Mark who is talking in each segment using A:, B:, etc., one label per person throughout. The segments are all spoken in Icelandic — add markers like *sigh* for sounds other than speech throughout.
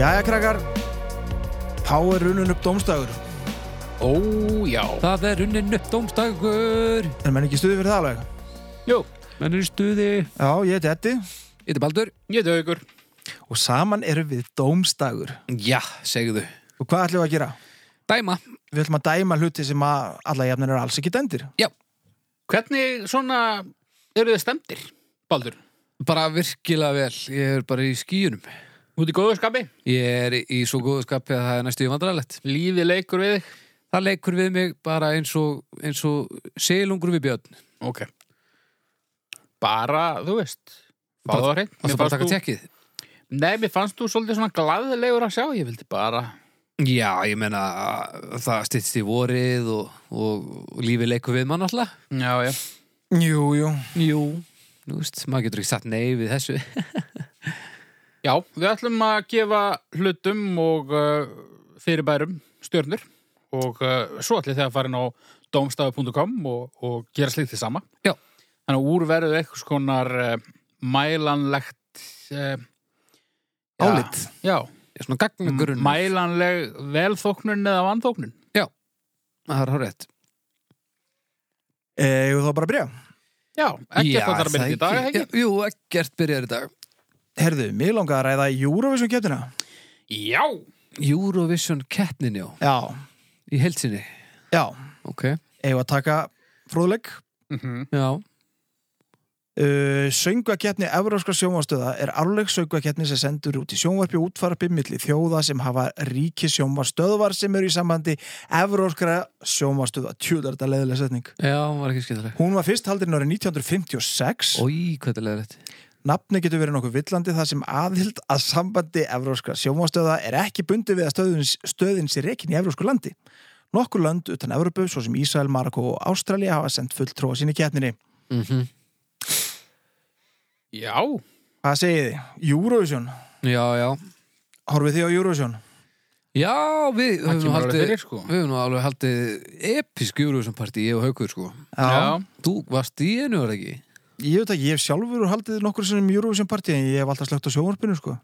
A: Jæja krakkar Þá er runnun upp dómstagur
B: Ó, já.
C: Það er runnin upp dómstakur
A: En menn ekki stuði fyrir það alveg
B: Jú,
C: Menn er í stuði
A: Já, ég heiti Eddi
C: Þetta er Baldur
B: ég heiti Haugur.
A: Og saman erum við dómstagur
B: Já, segðu.
A: Og hvað ætlum við að gera?
C: Dæma
A: Við ætlum að dæma hluti sem að alla jafnir er alls ekki dendir
B: Hvernig svona eru þið stemdir, Baldur?
C: Bara virkilega vel Ég er bara í skíunum
B: Út í góðu skapi?
C: Ég er í svo góðu skapi að það er næstu í vandrarlegt
B: Lífið leikur við þig?
C: Það leikur við mig bara eins og, eins og selungur við björn
B: Ok. Bara, þú veist. Fáðu
C: Bara-
B: á hreint.
C: Og það
B: Mér
C: bara að
B: fannst
C: taka
B: þú-
C: tjekkið
B: Nei, mér fannst þú svolítið svona glaðilegur að sjá. Ég vildi bara...
C: Já, ég meina það styrst í vorið og, og, og lífið leikur við mann alltaf
B: Já, já.
A: Jú, jú
C: Jú Nú veist, maður getur ekki satt nei við þessu
B: Já, við ætlum að gefa hlutum og uh, fyrirbærum stjörnur og uh, svo ætlum þið að fara inn á domstafu.com og, og gera slíkt því sama.
C: Já.
B: Þannig að úr verður eitthvað konar uh, mælanlegt... Uh,
A: Álit
B: Já,
C: Svona gagnagurinn
B: mælanleg velþóknun eða vanþóknun.
C: Það er hárétt
A: Eða Eh, þá bara að byrja
B: Já, ekki
C: Já,
B: að það er að byrja
C: það
B: í dag, eða ekki?
C: Jú, ekkert byrjar í dag
A: Herðu, mér langaði að ræða Eurovision kjöptina
B: Já,
C: Eurovision keppnin, já,
A: Já,
C: í heilsinni
A: já
C: Ok,
A: Eða að taka fróðleik
C: já,
A: Uh, söngvakeppni Evróskar sjónvarstöða er árleg söngvakeppni sem sendur út í sjónvarpi og útfarpi milli þjóða sem hafa ríki sjónvarstöðvar sem eru í sambandi Evróskara sjónvarstöða tjúlar þetta leðilega setning
C: já, var ekki skiltaleg
A: Hún var fyrst haldin árið 1956
C: Ói, hvað þetta leður þetta
A: Nafni getur verið nokkuð villandi þar sem aðhild að sambandi Evróskra sjónvarstöða er ekki bundi við að stöðin, stöðin sér rekin í Evrósku landi. Nokkur lönd utan Evrópu, svo sem Ísrael, Marokko og Ástralja hafa sendt fulltrúa sín í keppninni.
C: mm
B: já,
A: Hvað segið þið? Eurovision?
C: Já, já
A: Horfið þið á Eurovision?
C: Já, við
B: það
C: höfum
B: kemur alveg
C: haldið
B: fyrir, sko.
C: Við höfum nú alveg haldið episk Eurovision partí, ég og Haukur, sko
B: Já,
C: Þú varst í einu, var það ekki?
A: Ég veit ekki, ég hef sjálfur haldið nokkur sem Eurovision partí en ég hef alltaf slögt á sjónvarpinu sko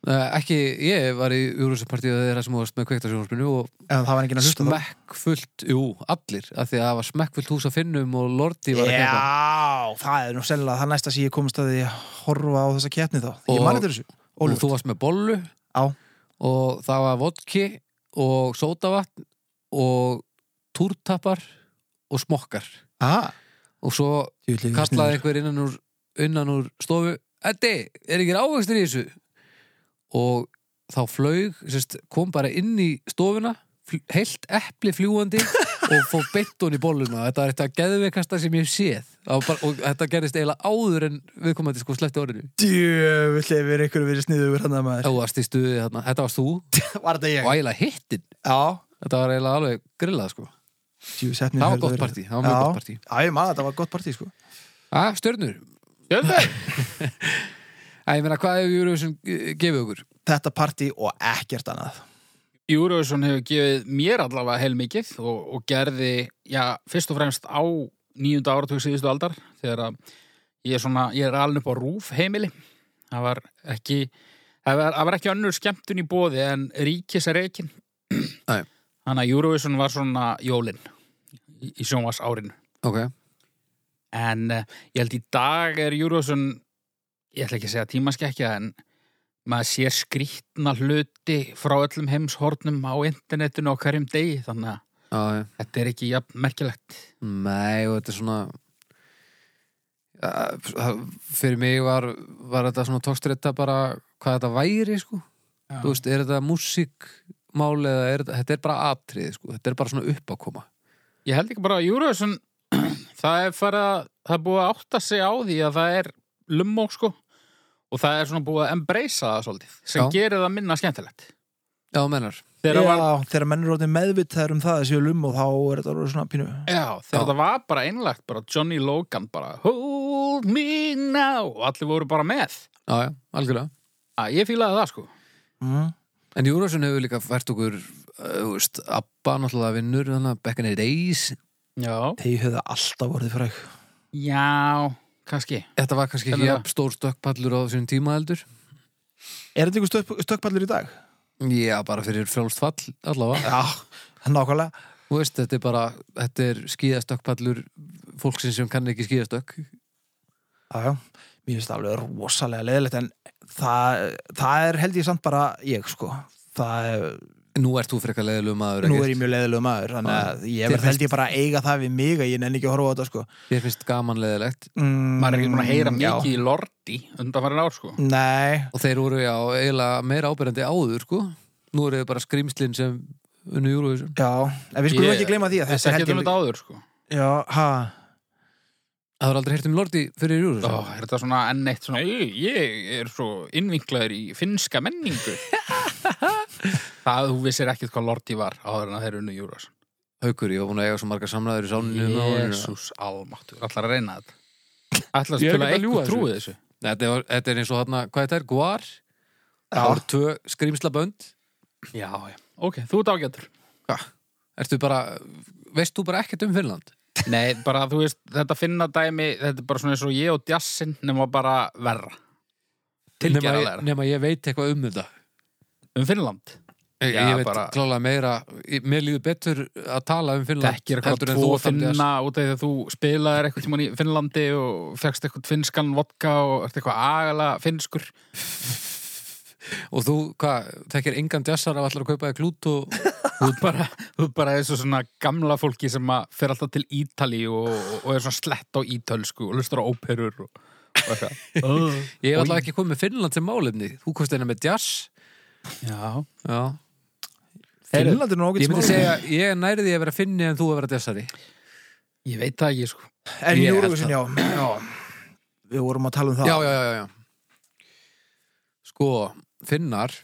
C: Uh, ekki, ég var í Eurovision partí og þeirra sem þú varst með kveiktarsjónarspinu og
A: en það var enginn að hlusta þá
C: smekkfullt, jú, allir af því að það var smekkfullt hús að finnum og Lordi var að keppa.
A: Já, það er nú sennilega það næsta sem ég komist að því að horfa á þessa keppni þá Ég
C: Og-
A: mani þetta þessu
C: og
A: Ólöf,
C: þú varst með bollu
A: Já.
C: og það var vodki og sódavatn og túrtapar og smokkar
A: ah,
C: og svo
A: djúli,
C: kallaði einhver innan úr, innan úr stofu Eddi, er ekki ávegstur í þessu? og þá flaug sérst, kom bara inn í stofuna fl- heilt epli *laughs* fljúandi og fór beint hún í bolluna þetta er þetta geðveikasta sem ég hef séð Það var bara, og þetta gerist eiginlega áður en viðkomandi sko sleppti orðinu
A: Djöfull hefur einhverju verið sniðugur hann að maður
C: Þú varst í stuði þarna, þetta varst þú og
A: Var þetta ég?
C: eiginlega hittin
A: Já,
C: Þetta var eiginlega alveg grillað sko
A: djú, sett mér
C: Það var gott partí, það var mjög gott partí
A: Já, ég maður, það var gott partí sko
C: Æ, stjörnur,
B: Stjörnur.
C: Æ, ég meina hvað hefur Eurovision eh, gefið okkur?
A: Þetta partí og ekkert annað
B: Eurovision hefur gefið mér allavega heilmikið og, og gerði, já, fyrst og fremst á nýjunda áratug síðustu aldar þegar að ég er svona, ég er alveg upp á rúf heimili. Það var ekki, það var, það var ekki önnur skemmtun í bóði en ríkis er reikin.
C: Nei.
B: Þannig að Eurovision var svona jólin í, í sjónvars árinu.
C: Ok,
B: En uh, ég held í dag er Eurovision, ég ætla ekki að segja tímaskekkja, en maður sér skrýtna hluti frá öllum heimshornum á internetinu á hverjum degi, þannig að
C: já, já
B: þetta er ekki jafn merkilegt.
C: Nei, og þetta er svona Æ, það- Fyrir mig var, var þetta svona tókstrita bara hvað þetta væri sko
B: Já.
C: Þú veist, er þetta músikmál eða er þetta, þetta er bara atrið sko Þetta er bara svona uppákoma
B: Ég held ekki bara að Eurovision, *clears throat* það er farið að, það er búið að átta sig á því að það er lummók sko og það er svona búið að embracea það svolítið, sem
C: Já.
B: gerir það minna skemmtilegt.
C: Já, þú meinar
B: Þegar,
A: Já,
B: var,
A: þegar menn eru orðin meðvitaður um það þessi um og þá er þetta orðið svona pínu
B: já, þegar
C: Já.
B: það var bara einlagt, bara Johnny Logan bara Hold me now og allir voru bara með.
C: Já, já, algjörlega
B: Að ég fílaði það sko
A: mm.
C: En Eurovision hefur líka fært okkur uh, þú veist, Abba náttúrulega vinnur þannig að Becca Night Ace
B: Já,
A: Þeir höfðu alltaf orðið fræk
B: já, kannski
C: Þetta var kannski ekki
B: Sennilega.
C: jafn stór stökkpallur á þessum tíma heldur
A: Er þetta einhver stökk, stökkpallur í dag?
C: Já, bara fyrir frjálst fall allavega.
A: Já, nákvæmlega
C: Þú veist, þetta er bara, þetta er skíðastökkpallur fólksins sem kann ekki skíðastökk.
A: Já, já, mér finnst það alveg rosalega leðilegt en það, það er held ég samt bara ég sko það er,
C: Nú ert þú frekar leiðilegu maður,
A: nú er ég mjög leðilegu maður þannig að ég verð held ég bara að eiga það við mig að ég nenni ekki að horfa á þetta sko
C: Ég finnst gaman leiðilegt.
A: mm,
B: Maður er ekki búin að heyra
A: já.
B: mikið í Lordi undanfærin ár, sko.
A: Nei,
C: Og þeir voru, já, eiginlega meira ábyrjandi áður, sko. Nú eru þau bara skrýmslinn sem unnu júruvísum.
A: já, en við skulum
B: Ég-
A: ekki gleyma því að
B: Þessi
A: þetta er
B: ekki
A: held
B: um
A: ég
B: þetta áður, sko.
A: Já, ha,
C: Það var aldrei heyrt um Lordi fyrir
B: Ó,
C: júruvísum.
B: er þetta svona enn eitt svona, "Ey, ég er svo innvinklaður í finnska menningu. það að þú vissir ekkert hvað Lordi var áður en að þeir unnu Júrós.
C: Haukur, ég var búin að eiga svo margar samræður í sáninu. um árinu.
B: Jésús almáttur, allar að reyna þetta. Allar að
C: Ég er
B: spila
C: ekkert að ljúga
B: eitthvað trúið þessu.
C: Þetta er, þetta er eins og þarna, hvað þetta er? Guar?
A: já,
C: Ár tvö skrýmslabönd?
B: Já, já. Ok, þú ert ágættur.
C: Ertu bara, veist þú bara ekkert um Finnland?
B: Nei, bara þú veist, þetta finna dæmi, þetta er bara svona eins og ég og djassinn nema bara verra.
C: Nema ég-
B: Tilgerðarlegra.
C: Nema ég veit eitthvað um þetta.
B: Um Finnland.
C: Ég,
B: Já,
C: ég veit
B: bara-
C: klálega meira, ég- mér líður betur að tala um Finnland
B: Þekkir eitthvað
C: heldur en
B: tvo
C: þú þarf
B: finna út af því að þú spilaðir eitthvað tímann í Finnlandi og fegst eitthvað finnskan vodka og ert eitthvað agala finnskur.
C: Og þú, hvað, þekkir engan djassar af allar að kaupa þér klút *laughs* og
B: Þú ert bara, þú ert bara eins og svona gamla fólki sem að fer alltaf til Ítali og, og, og er svona slett á ítölsku og lustur á óperur og, og eitthvað.
C: *laughs* ég hef allar ekki komið með Finnland sem málefni. Þú komst eina með djass.
B: Já.
C: Já.
A: Finnland er nú
C: Ég
A: ágætt
C: myndi segja, ég nærði því að vera finni en þú að vera djassari.
B: Ég veit það ekki, sko.
A: En
C: Ég held
A: Júruvísin, já, já Við vorum að tala um það
C: Já, já, já, já, já. Sko, finnar,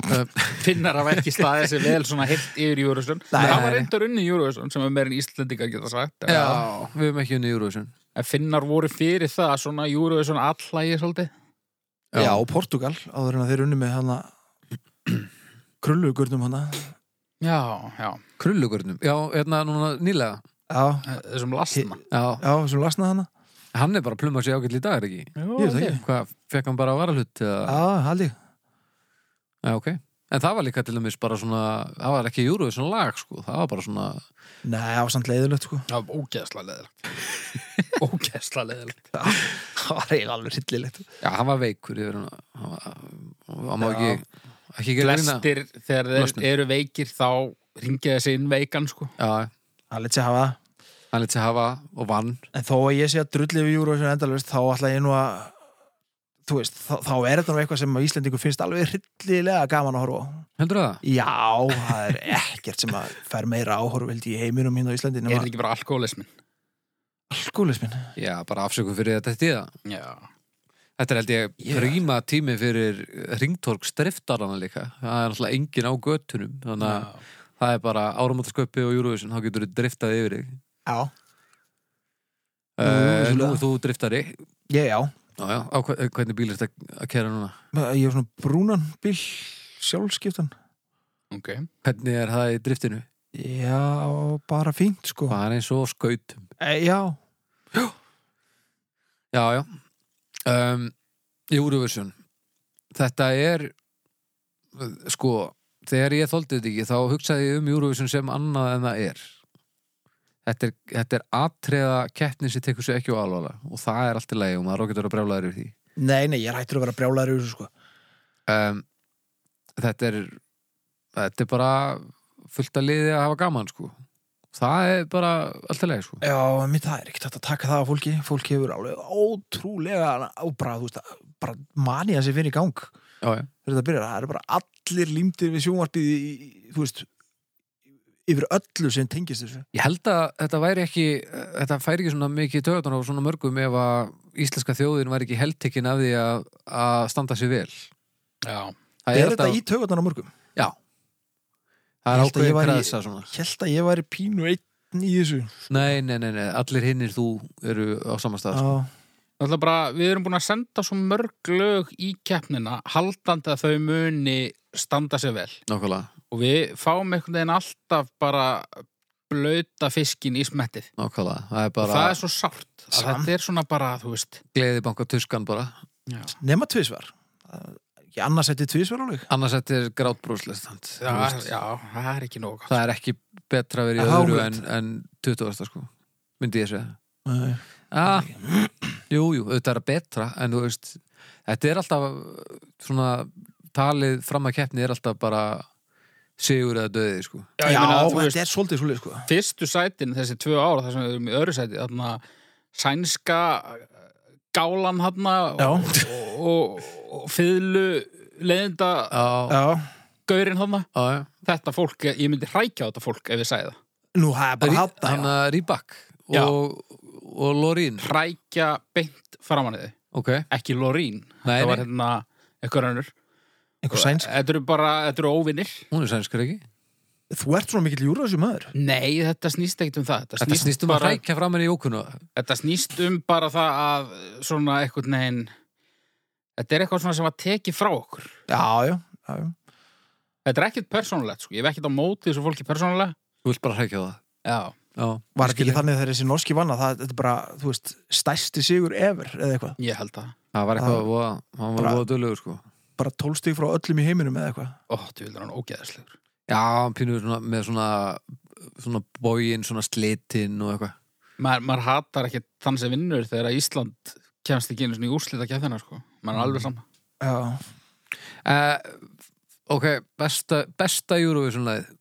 B: *laughs* Finnar hafa ekki staðið sér vel svona heilt yfir Júruvísson.
A: Nei.
B: Það var reyndar unni Júruvísson sem er meir en Íslendingar geta sagt.
C: já, við hefum ekki unni Eurovision.
B: En Finnar voru fyrir það svona Júruvísson allægi svolítið.
A: Já, Portugal, áður en að þeir unni með hana krullugurnum hana
B: Já, já.
C: Krullugurnum, já, hérna núna nýlega.
A: Já,
B: Þessum lastna.
C: Já,
A: já, sem lasnaði hana
C: hann er bara að pluma sig ágætt í dag, er ekki?
A: Ég veit það ekki.
C: Hvað, fekk hann bara varalut? Já,
A: Já, haldi
C: Já, ok. En það var líka til dæmis bara svona, það var ekki Eurovision lag, sko. Það var bara svona,
A: Nei, það var samt leiðilegt sko
B: Það var ógeðsla leðilegt. ógeðsla leðilegt.
A: *laughs* Það var eiginlega alveg hryllilegt
C: já, hann var veikur yfir hann. Hann var- Hann má
A: Já.
C: ekki, ekki gera reyna.
B: Flestir, þegar þeir
C: Losnir.
B: eru veikir, þá ringið þessi inn veikan, sko.
C: Já,
A: Það leti sig hafa það.
C: hann lítið hafa og vann.
A: En þó að ég sé að drulli við Eurovision endalvist þá ætla ég nú að þú veist, þá, þá er þetta nú eitthvað sem að Íslendingu finnst alveg hryllilega gaman að horfa á.
C: Heldur það?
A: Já, það er ekkert sem að fer meira áhorfildi í heiminum hérna á Íslandi
B: Er
A: nema
B: þetta ekki bara alkoholismin?
A: alkoholismin
C: Já, bara afsökum fyrir þetta tíða.
B: Já.
C: Þetta er held ég
A: Já.
C: príma tími fyrir ringtorg streftarana líka. Það er náttúrulega engin á göttunum. Þannig að
B: Já.
C: það er bara áramátasköpi og Eurovision, þá getur þú driftað yfir þig.
A: Já, Jú,
C: Uh, nú
A: vissulega.
C: er þú driftari.
A: ég já
C: Já, já, á hve- hvernig bíl er þetta að kæra núna?
A: Ég er svona brúnan bíl sjálfskiptan
B: Ok.
C: Hvernig er það í driftinu?
A: Já, bara fínt sko
C: Bara eins og á skautum.
A: e, Já,
C: Já, já. Um, Eurovision. Þetta er, uh, sko, þegar ég þoldi þetta ekki, þá hugsaði ég um Eurovision sem annað en það er. Þetta er, þetta er atriða keppnin sem tekur sig ekki á alvarlega og það er allt í lagi og maður ágætur að brjála þér yfir því.
A: nei, nei, ég er hættur að vera brjálæður í þessu sko
C: Um, þetta er, þetta er bara fullt að liði að hafa gaman, sko. Það er bara allt í lagi, sko.
A: Já, mér það er ekkert hægt að taka það af fólki fólki hefur alveg ótrúlega ábra, þú veist, að- bara manið sem fyrir í gang
C: Já, já.
A: þegar þetta byrjar, það eru bara allir límdir við sjónvarpið í, í- þú veist yfir öllu sem tengist þessu
C: Ég held að þetta væri ekki þetta færi ekki svona mikið töðan á svona mörgum ef að íslenska þjóðin var ekki heldtekinn af því að, að standa sér vel
B: Já.
C: Það
A: Er þetta í taugarnar á mörgum?
C: Já Það er
A: Ég held að ég
C: ákveðin
A: var í-
C: græðsa svona
A: Hjælt að ég væri pínu einn í þessu
C: Nei, nei, nei, nei, allir hinnir þú eru á sama stað
A: Já,
B: Það er bara, við erum búin að senda svo mörg lög í keppnina haldandi að þau muni standa sér vel.
C: Nákvæmlega,
B: Og við fáum einhvern veginn alltaf bara blauta fiskin í smettið.
C: nákvæmlega Það er
B: Og
C: bara
B: það er svo sárt. að
A: Sam-
B: Þetta er svona bara, þú veist,
C: gleðibanka tuskan bara
A: nema tvisvar Ég annars þetta er tvísveruleg.
C: annars þetta er grátbrúslestand
B: Já, já, það er ekki nóg gott.
C: það er ekki betra að vera í
A: Það er
C: öðru en,
A: hárrétt.
C: en 20. sko myndi ég segja
A: Nei.
C: ah, Jú, jú, auðvitað er betra en þú veist, þetta er alltaf svona talið fram að keppni er alltaf bara sigur eða döði sko.
A: Já,
B: ég meina, þú veist,
A: þetta er svolítið svolítið, sko.
B: fyrstu sætin þessi tvö ára þar sem við erum í öðru sæti þarna sænska eh, gálan þarna og, og, og fyrlu leiðinda
C: Já,
A: Já.
B: gaurinn þarna
C: já, Ah, já
B: þetta fólk, ég myndi hrækja á þetta fólk ef ég sagði það
A: Nú, það er bara hatt
C: Hanna Rýbak
B: Já.
C: og, og Lorín
B: hrækja beint framan í þig,
C: Ok,
B: ekki Lorín
C: Nei,
B: það var
C: nei.
B: hérna eitthvað rannur
A: Einhver sænsk.
B: þetta eru bara, þetta eru óvinnir
C: hún er sænskur ekki
A: Þú ert svona mikill júra þessu maður.
B: nei, þetta snýst ekkert um það þetta
C: Þetta
B: snýst,
C: snýst um að
B: bara,
C: hrækja fram henni í ókunna
B: þetta snýst um bara það að svona eitthvað neginn þetta er eitthvað svona sem var tekið frá okkur
A: Já, já, já, já.
B: Þetta er ekkert persónulegt, sko. Ég hef ekkert á móti þessu fólki persónulega.
C: Þú vilt bara hrækja á það
B: Já.
C: Já,
A: Var þetta
C: skil
A: ekki þannig þegar þessi norski vanna, það, þetta er bara, þú veist, stæsti sigur ever eða eitthvað.
B: Ég held það.
C: Það var eitthvað, voða, hann var
A: Bara-
C: voða dölugur sko
A: Bara tólstig frá öllum í heiminum eða eitthvað.
B: Ó, þú vildur hann ógeðislegur.
C: Já, hann pínur svona, með svona svona bógin, svona slitinn og eitthvað
B: Maður, maður hatar ekkert þann sem vinnur þegar að Ísland kemst ekki einu svona í úrslita kefðina, sko. Maður er alveg sama.
A: Já.
C: Uh, ok, besta, besta Eurovision lagið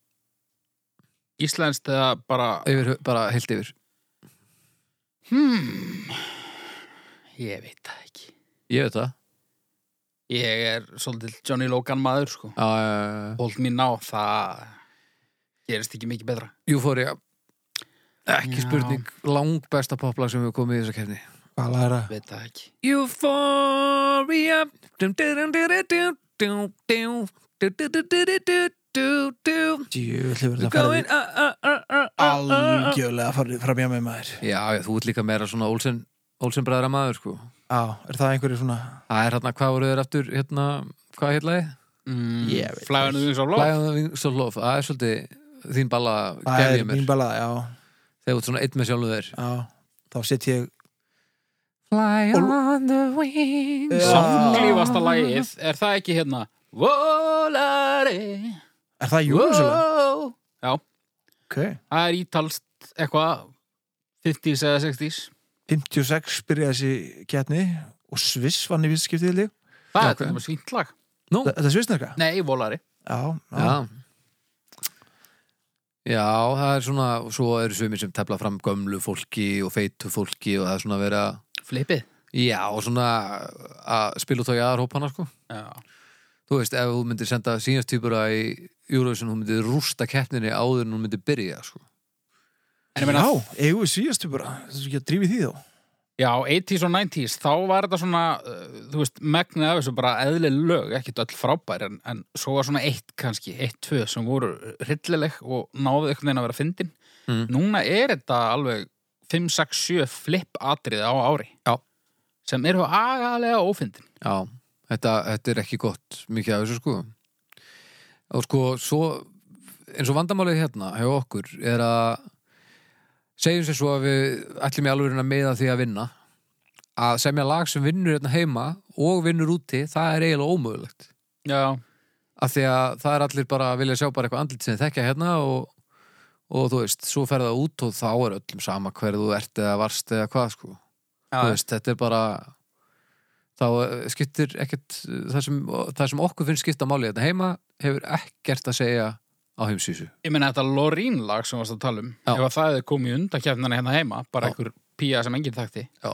B: Íslands þegar bara...
C: yfir, bara heilt yfir
B: Hmm. Ég veit það ekki.
C: Ég veit það
B: Ég er svolítið Johnny Logan maður, sko.
C: uh,
B: Hold me now, það gerist ekki mikið betra.
C: Euphoria Ekki
B: Já.
C: spurning, lang besta poplag sem við komið í þessa kefni
A: Hvað er það?
B: Veit það ekki.
C: Euphoria dum, dum, dum, dum, dum, dum, dum, dum, dum, dum, dum, dum, dum,
A: Djú, hlifur
C: dum,
A: þetta farið
C: Going uh, uh, uh, uh, uh, uh, uh.
A: algjörlega farið fram hjá með maður.
C: Já, já, þú ert líka meira svona Olsen Olsen bræðra maður sko
A: Já, er það einhverju svona...
C: Það er hérna, hvað voru þeir aftur hérna, hvað heitlaði?
B: Mm,
A: Ég veit
B: Flæðan við eins og
C: Fly on the Wings of Love, það er svolítið þín balla
A: Það
C: gerði
A: er
C: ég mér
A: mín balað, já.
C: þegar þú ert svona einn með sjálfum þér
A: Já, þá set ég...
C: Fly
A: Og-
C: on the wings
A: Já.
B: Samglífasta lagið, er það ekki hérna Volari
A: Er það júrasöla?
B: Wow.
A: Ok.
B: Það er ítalst eitthvað 50s eða 60s
A: 56 byrjaði þessi getni og Sviss vann í visskiptið lík.
B: Það
C: Já,
B: er
C: ok.
B: þetta með svínt lag
C: Nú,
A: Þetta er Svissnerka?
B: Nei, Volari
A: Já, já.
C: já Já, það er svona og svo eru sumir sem tefla fram gömlu fólki og feitu fólki og það er svona að vera
B: Flipið
C: já, og svona að spila út á jáðarhópana sko
B: Já,
C: Þú veist, ef þú myndir senda síðast týpura í Eurovision, hún myndir rústa keppninni áður en hún myndir byrja sko
B: En ég meina-
A: Já, eigum við síðastu bara. Þetta er ekki að drífi því þá.
B: já 80s og 90s Þá var þetta svona, uh, þú veist, megnið af þessu bara eðli lög Ekkert öll frábær en, en svo var svona eitt kannski, eitt, tvö sem voru hryllileg og náðu einhvern veginn að vera fyndin
C: Mm.
B: Núna er þetta alveg 5, 6, 7 flip atriði á ári
C: Já.
B: Sem eru agalega ófyndin
C: Já, þetta, þetta er ekki gott mikið af þessu sko og sko, svo eins og vandamálið hérna hjá okkur er að segjum sér svo að við ætlum í alveg að meða því að vinna að semja lag sem vinnur hérna heima og vinnur úti, það er eiginlega ómögulegt
B: Já,
C: af því að það er allir bara að vilja sjá bara eitthvað andlit sem þeir þekkja hérna og, og þú veist, svo ferða út og þá er öllum sama hver þú ert eða varst eða hvað sko
B: já,
C: þú veist, þetta er bara þá eh, skiptir ekkert eh, það sem, það sem okkur finnst skipta máli þetta heima hefur ekkert að segja á heimsísu
B: Ég meina þetta Lorín lag sem varst að tala um
C: Já.
B: ef að það hefði komið undakefnina hérna heima bara
C: Já.
B: einhver pía sem enginn þekkti
C: Já.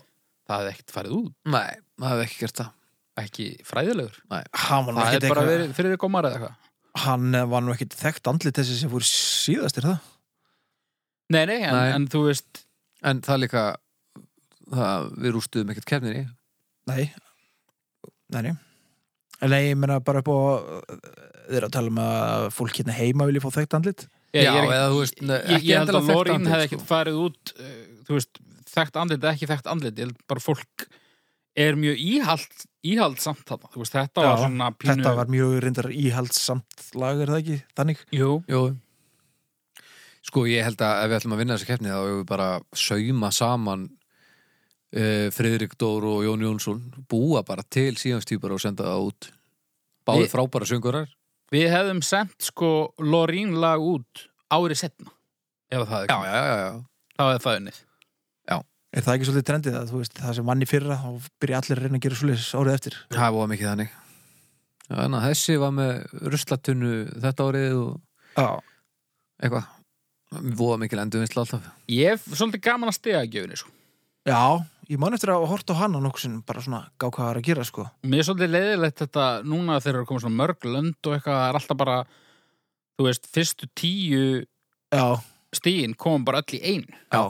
B: það hefði ekkert farið út,
C: Nei, það hefur ekki gert það
B: ekki fræðilegur
A: Hann var nú
B: það
A: ekkert
B: hefði bara
A: eitthvað-
B: verið fyrir gómar eða eitthvað
A: hann eh, var nú ekkert þekkt andlit þessi sem fór síðast er það
B: Nei, nei, en,
C: Nei.
B: en þú veist
C: en það er líka það, við rústuðum ekkert kefninni
A: nei, nei, nei. nei ég meina bara upp á eh, þeir eru að tala um að fólk hérna heima vilja fá þekkt andlit
B: ég, ég, er
C: eða
B: ekki,
C: þú veist, ne,
B: ég, ég,
C: ekki
B: held að
C: endilega sko. þekkt
B: Lorín
C: andlit,
B: hefði ekkert farið út uh, þú veist, þekkt andlit eða ekki þekkt andlit, ég held bara fólk er mjög íhald íhald samt þarna, þú veist, þetta
A: Já,
B: var svona pínu
A: þetta var mjög reyndar íhaldsamt lag er það ekki, þannig
B: Jú,
C: Jú. Sko, ég held að ef við ætlum að vinna þessa keppni þá hefur við bara sauma saman eh, uh, Friðrik Dór og Jón Jónsson búa bara til síðanstýpar og senda það út Báði
B: Við-
C: frábæra söngurar
B: Við hefðum sendt sko Lorín lag út árið setna ef það er
C: Já, já, já, já
B: þá er það unnið
A: Er það ekki svolítið trendið að þú veist það sem vann í fyrra þá byrja allir að reyna að gera svolítið árið eftir
C: Það er búið mikið þannig Já, en að þessi var með ruslatunnu þetta árið og
A: Já,
C: eitthvað Voða mikil endurvinnsla alltaf
B: Ég hef svolítið gaman að stiga gjöfunni sko.
A: ég man eftir að horta á hana nokkuð sinnum bara svona gá hvað það er að gera sko
B: og mér er svolítið leiðilegt þetta núna þegar þeir eru komið svona mörg lönd og eitthvað það er alltaf bara þú veist, fyrstu tíu
A: Já,
B: stíin komum bara öll í einu
A: já,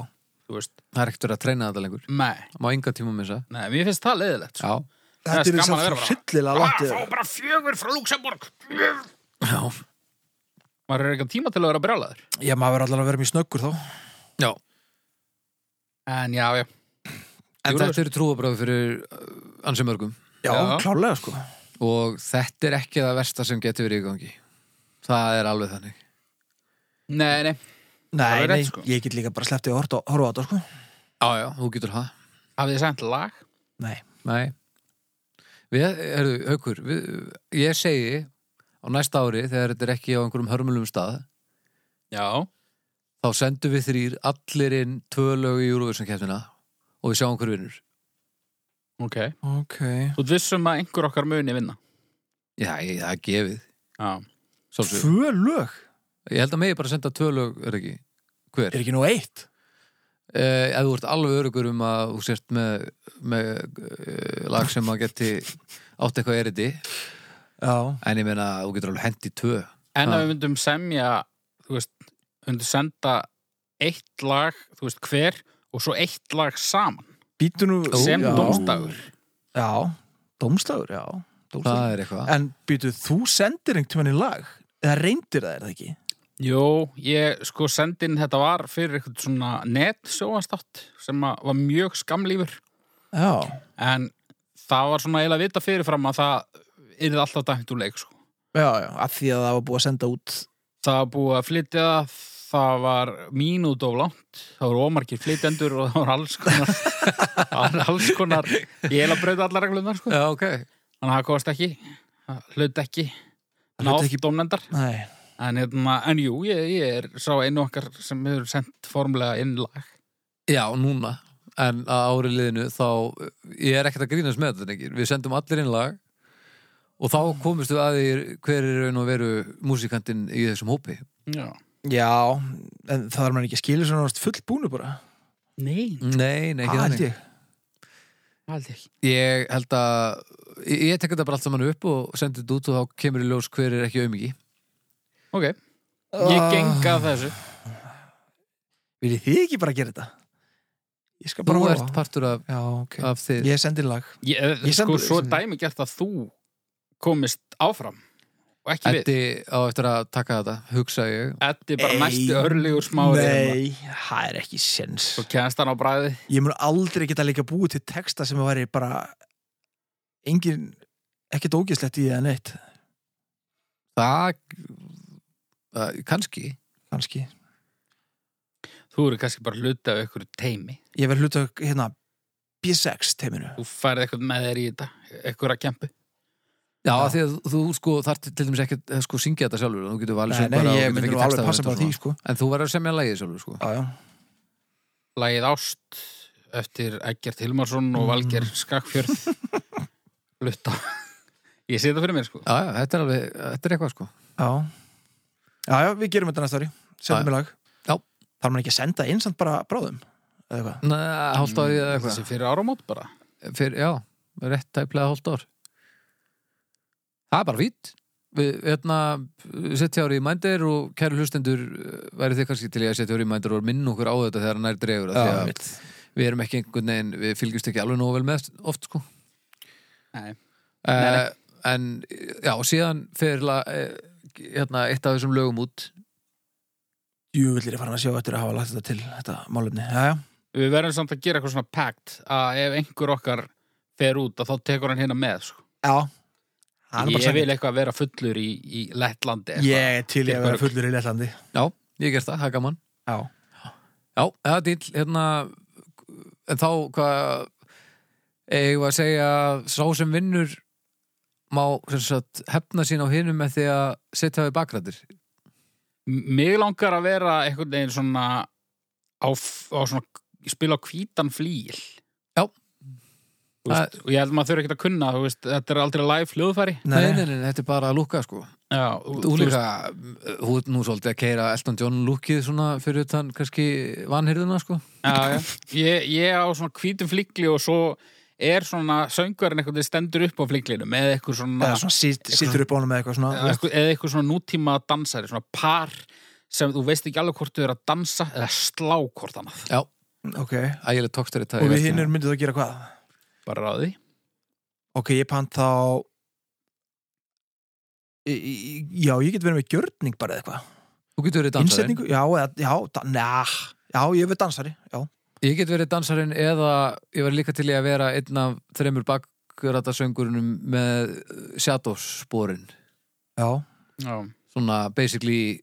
B: þú veist,
C: Það er ekkert verið að treyna þetta lengur
B: nei,
C: Má enga tíma missa
B: nei, mér finnst það leiðilegt sko.
C: Já,
B: Það er
A: þetta er
B: gaman að
A: samt
B: vera bara.
A: hryllilega
B: ah,
A: langt
B: fá
A: yfir.
B: bara fjögur frá Luxemburg
C: já,
B: maður er eitthvað tíma til að vera brjálaður
A: Já, maður verður allar að vera mjög snöggur þá
C: já
B: en já, já,
C: En
B: Jú,
C: þetta eru trúabráð fyrir uh, ansi mörgum
A: Já,
B: Já.
A: klálega sko
C: og þetta er ekki það versta sem getur verið í gangi Það er alveg þannig
B: nei, nei Það
A: Nei,
B: er
A: nei,
B: rétt, sko.
A: ég get líka bara slepptið að horta- horfa á þetta sko
C: Já, já, þú getur það
B: hafið þið sent lag
A: Nei,
C: Nei Við, herðu, haukur við, Ég segi á næsta ári þegar þetta er ekki á einhverjum hörmulum stað
B: já,
C: þá sendum við þrýr allir inn tvö lög í Eurovision keppnina og við sjáum hver vinnur
B: ok
A: ok
B: þú vissum að einhver okkar muni vinna
C: Já, ég, það er gefið
B: já,
C: Sjálfsög.
A: Tvö lög?
C: Ég held að megi bara senda tvö lög, er ekki hver?
A: Er ekki nú eitt?
C: Eh, ef þú ert alveg örugur um að þú sért með, með eh, lag sem að geti átt eitthvað eriti
A: Já,
C: en ég meina þú getur alveg hendi tvö
B: en
C: Já.
B: að við myndum semja þú veist, við myndum senda eitt lag, þú veist hver og svo eitt lag saman
A: býtu nú
B: sem
A: já.
B: dómstagur
A: Já, dómstagur, já dómstagur.
C: það er eitthvað
A: En býtu, þú sendir einhvern tímann í lag eða reyndir það, er það ekki?
B: Jó, ég sko sendin þetta var fyrir eitthvað svona netsjóastátt sem að var mjög skamlífur
A: Já,
B: en það var svona eiginlega vita fyrirfram að það yrði alltaf dæmt úr leik sko.
A: já, já, af því að það var búið að senda út
B: Það var búið að flytja það, það var mínút of langt, það voru ómarkir flytjendur og það var alls konar það var alls konar, ég eiginlega brauði allar reglunar sko,
C: Já, ok
B: þannig að það kosti ekki það hlut ekki
A: Það hlaut
B: nátt
A: ekki-
B: dómnendar
A: Nei,
B: en, hérna, en jú, ég, ég er sá einu okkar sem hefur sendt formulega inn lag
C: Já, núna En að ári liðinu þá Ég er ekkert að grínast með þetta ekki Við sendum allir inn lag Og þá komist við að því hver er raun og veru músikantinn í þessum hópi
B: Já
A: já en það er maður ekki að skilja svona fullbúnu bara
B: Nei,
C: Nei, nei, ekki
A: Það held ég
C: þannig
B: held ekki
C: Ég held að Ég, ég tek þetta bara allt saman upp og sendi þetta út og þá kemur í ljós hver er ekki aumingi
B: Ok, ég geng að þessu
A: Ah. Viljið þið ekki bara gera þetta? Ég skal bara
C: Þú
A: horfa
C: ert partur af,
A: Já, ok
C: af þið
A: Ég sendi lag
B: Ég,
A: Ég
B: sko,
A: sendur-
B: svo er dæmi gert að þú komist áfram og ekki við
C: Eddi á eftir að taka þetta, hugsa ég
B: Eddi bara
A: Ei,
B: næsti örlegur smári hérna.
A: Nei, það er ekki sens
B: Svo kennst hann á bræði
A: Ég mun aldrei geta líka búið til texta sem væri bara engin, ekkert ógeðslegt í eða neitt
C: Það, það kannski
A: kannski
B: Þú eru kannski bara hluti af ykkur teimi
A: Ég verð hluta hérna B6 teiminu
B: Þú færði eitthvað með þér í þetta Ykkur að kempu
C: Já,
A: Já.
C: já. því að þú sko þarf til dæmis ekki að sko syngja þetta sjálfur þú getur valið
A: Nei, nei,
C: söngvara og
A: ég
C: getur
A: myndi nú
C: fengið
A: alveg
C: texta
A: passa
C: og
A: bara
C: þetta
A: því,
C: svona.
A: sko
C: En þú verður að semja lagið sjálfur sko
A: Já, já,
B: Lagið Ást eftir Eggert Hilmarsson og
A: Mm.
B: Valger Skakfjörð
A: *laughs*
B: Hluta Ég sé þetta fyrir mér sko
C: Já, já, þetta er alveg, þetta er eitthvað sko
A: já Já, já, við gerum þetta næsta ári
C: Já,
A: Sendum við lag
C: Já.
A: Þarf maður ekki að senda innsamt bara bráðum eða eitthvað
C: Næ, hálft ár eða eitthvað
B: Þessi fyrir áramót bara
C: Fyr, Já, rétt tæplega hálft ár Það er bara fýtt Við, hérna, setja ári í mændir og kæru hlustendur eh, væri þið kannski til ég að setja ári í mændir og minna okkur á þetta þegar hann er dregur af því að
A: einmitt.
C: við erum ekki einhvern veginn, við fylgjumst ekki alveg nógu vel með oft sko
B: Nei. Nei,
C: Uh, en já, síðan fer la, uh, hérna, eitt af þessum lögum út
A: Jú, villir ég fara að sjá eftir að hafa lagt þetta til þetta málefni Já, já,
B: Við verðum samt að gera eitthvað svona pakt að ef einhver okkar fer út að þá tekur hann hérna með sko.
A: já Það er
B: Ég
A: bara
B: vil
A: sætt
B: eitthvað vera fullur í, í Lettlandi eitthvað.
A: Ég er til í að vera
B: Eitthvað.
A: fullur í Lettlandi
C: Já, ég gerst það, það er gaman
A: Já
C: Já, það er dýll, hérna en þá, hvað eigum við að segja að sá sem vinnur má sem sagt, hefna sín á hinum með því að setja á í bakrættir
B: M- Mig langar að vera einhvern veginn svona á, f- á svona spila á hvítan flíl.
C: Já.
B: Þú Veist, og ég held að maður þurfi ekkert að kunna, þú veist, þetta er aldrei live hljóðfæri.
C: nei. Nei, nei, nei, þetta er bara að lúka sko
B: Já,
C: Þú líka, hún er nú svolítið að keira Elton John lúkið svona fyrir utan kannski vanhyrðuna sko
B: Já, já. Ég, ég á svona hvítum flikli og svo er svona söngarinn einhvern veginn stendur upp á fliklinu með eitthvað svona,
A: eða svona sit, sittur upp á honum með eitthvað svona
B: eða eitthvað, eða eitthvað svona nútíma dansari, svona par sem þú veist ekki alveg hvort þau eru að dansa eða slá hvort annað.
C: Já,
A: ok,
C: ægileg tókstur þetta
A: og við hinnur myndum þá gera hvað
B: Bara ráði.
A: ok, ég pant þá Í- í- já, ég get verið með gjörning bara eða eitthvað
C: Þú getur verið dansarinn
A: innsetningu, já, eða, já, da, na, já, ég verið dansari já,
C: Ég get verið dansarinn eða ég var líka til í að vera einn af þreymur bakrættasöngurunum með uh, Shadows spórin
A: já,
B: Já.
C: svona basically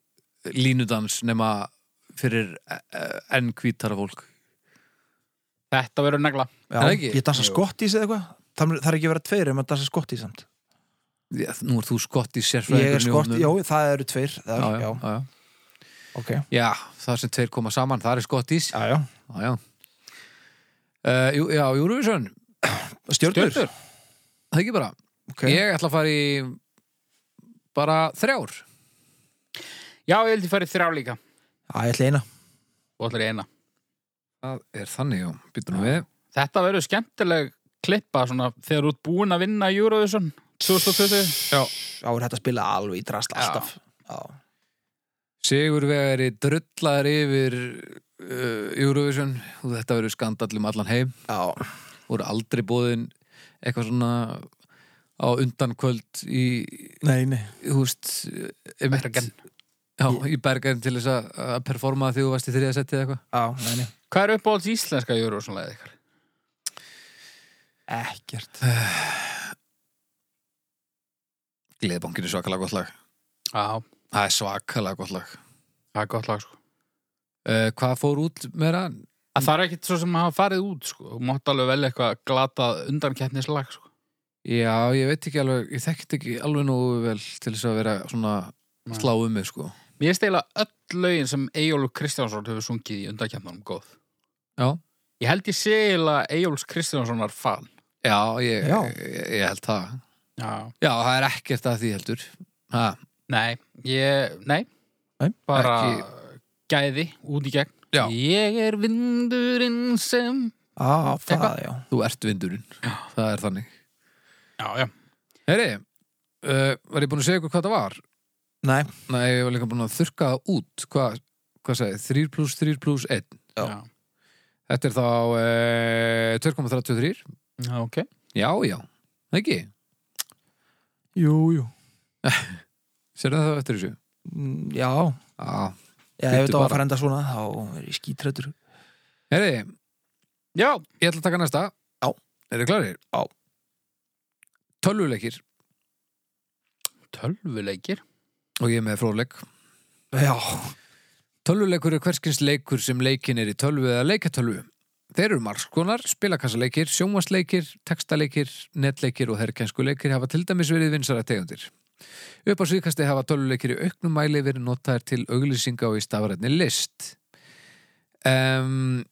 C: línudans nema fyrir eh, enn hvítara fólk
B: Þetta verður negla.
A: já.
C: Er það ekki?
A: ég dansa
B: Jú.
A: skottís eða eitthvað það það er ekki að vera tveir ef maður dansa skottís samt
C: Já, Nú er þú skott í
A: ég
C: sérfræðingur
A: er skott, já, það eru tveir það,
C: já,
A: já,
C: já, já.
A: ok,
C: já, það sem tveir koma saman, það er skott ís Já,
A: já, já
C: já uh, jú, Já, Júruvísson,
A: stjörnur,
B: Stjörnur.
C: það ekki bara
A: ok,
C: Ég ætla að fara í bara þrjár
B: Já, ég held ég færi þrjá líka.
A: já, ég ætla eina
B: Og allir eina.
C: Það er þannig, já, býtum við
B: Þetta verður skemmtileg klippa svona þegar þú ert búin að vinna Eurovision 2020. Já.
A: já, er þetta að spila alveg í drast
B: Já.
A: alltaf já,
C: Sigurvegari drullar yfir uh, Eurovision og þetta verður skandall um allan heim
A: já,
C: voru aldrei bóðin eitthvað svona á undankvöld í,
A: nei, nei
C: þú veist einmitt-
B: Bergen.
C: Já, í Bergen til þess að, að performa þegar þú varst í þriða settið eitthvað
A: já, nei, nei,
B: Hvað er uppáhalds íslenska Eurovision-leðið ykkar?
A: ekkert
C: Gleðbankin er svakalega gott lag
B: Já,
C: Það er svakalega gott lag
B: það er gott lag, sko.
C: uh, Hvað fór út meira?
B: að það er ekkit svo sem hafa farið út sko. þú mátt alveg velja eitthvað glatað undankeppnislag sko.
C: Já, ég veit ekki alveg, ég þekkti ekki alveg nógu vel til þess að vera svona
B: Nei.
C: slá um mig sko
B: mér stela öll lögin sem Eyjólf Kristjánsson hefur sungið í undankeppnunum góð
C: Já.
B: ég held ég segila Eyjólfs Kristjánssonar fan
C: Já, ég,
A: Já.
C: Ég, ég held það
B: já.
C: Já, það er ekkert að því heldur ha,
B: nei, ég, nei,
A: Nei,
B: bara gæði út í gegn
C: Já.
B: ég er vindurinn sem
A: já, það,
B: Eitthvað?
A: já,
C: Þú ert vindurinn, það er þannig
B: já, já,
C: Heri, uh, var ég búin að segja ykkur hvað það var?
A: nei
C: Nei, ég var líka búin að þurka það út Hvað, hvað sagði, 3 plus 3 plus 1
A: Já.
B: já.
C: Þetta er þá uh, 2,33
B: já ok
C: Já, já, ekki,
A: jú, jú,
C: sérðu það eftir þessu
A: Mm, já
C: Já,
A: Já,
C: Bíddu
A: ef þetta var
C: bara.
A: að fara enda svona, þá er ég skítrættur.
C: heri,
B: já,
C: ég ætla að taka næsta
A: Já.
C: Eru klárir?
A: Já.
C: Tölvuleikir
B: tölvuleikir
C: og ég er með fróðleik
A: Já,
C: Tölvuleikur er hverskins leikur sem leikin er í tölvu eða leikatölvu. Þeir eru margskonar, spilakassaleikir, sjónvarsleikir, textaleikir, netleikir og herrkjænskuleikir hafa til dæmis verið vinsara tegundir. Upp á síðkasti hafa tölvuleikir í auknum mæli verið notaðir til auglýsinga og í stafrætni list. Um,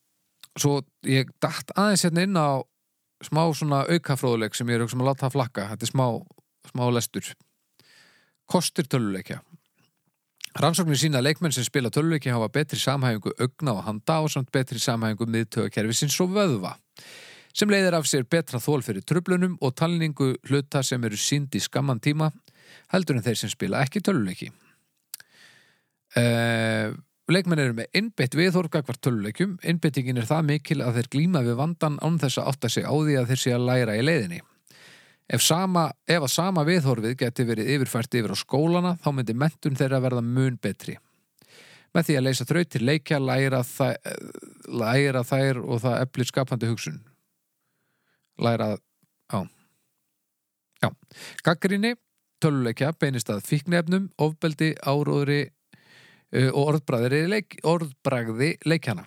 C: svo ég datt aðeins hérna inn á smá svona aukafróðuleik sem ég er auksum að láta að flakka. Þetta er smá, smá lestur. Kostir tölvuleikja. Rannsóknir sína að leikmenn sem spila tölvuleiki hafa betri samhæfingu augna og handa og samt betri samhæfingu miðtögakerfisins og vöðva sem leiðir af sér betra þól fyrir tröflunum og talningu hluta sem eru sínd í skamman tíma heldur en þeir sem spila ekki tölvuleiki. Uh, leikmenn eru með innbytt viðhorga hvert tölvuleikum. Innbyttingin er það mikil að þeir glíma við vandan án þess að átta sig á því að þeir sé að læra í leiðinni. Ef, sama, ef að sama viðhorfið geti verið yfirfært yfir á skólana þá myndi mentun þeirra verða mun betri. Með því að leysa þrautir leikja, læra, þa læra þær og það eflir skapandi hugsun. Læra, á. Já. Gaggrinni, töluleikja, beinist að fíknefnum, ofbeldi, áróðri uh, og orðbragði, leik, orðbragði leikjana.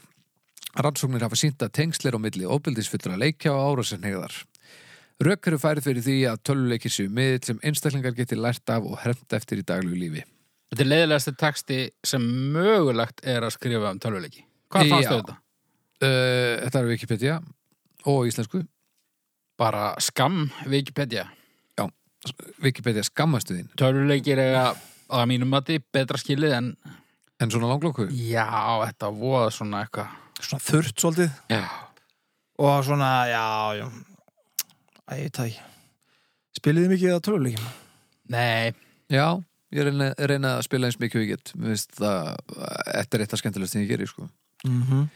C: Rannsóknir hafa sínt að tengslir á milli ofbeldisfullra leikja og árásinhegðar. Rök eru færið fyrir því að töluleikir séu miðill sem einstaklingar geti lært af og hermt eftir í daglegu lífi.
B: Þetta er leiðilegasti texti sem mögulegt er að skrifa um tölvuleiki. Hvað
C: Já.
B: fannst þau þetta?
C: Uh, þetta er Wikipedia og íslensku.
B: Bara skam Wikipedia.
C: Wikipedia skammastu þín.
B: Tölvuleikir eiga að mínum mati betra skilið en
C: En svona langlokku?
B: já, þetta voða svona eitthvað.
A: svona þurrt svolítið
B: Já.
A: og svona, já, já Æ, ég veit það ekki Spiliði mikið að töluleikjum
B: Nei,
C: Já, ég reyna, reyna að spila eins mikið og ég get. Mér finnst það, þetta er eitt af skemmtilegast þín ég gerir, sko.
A: mm -hmm.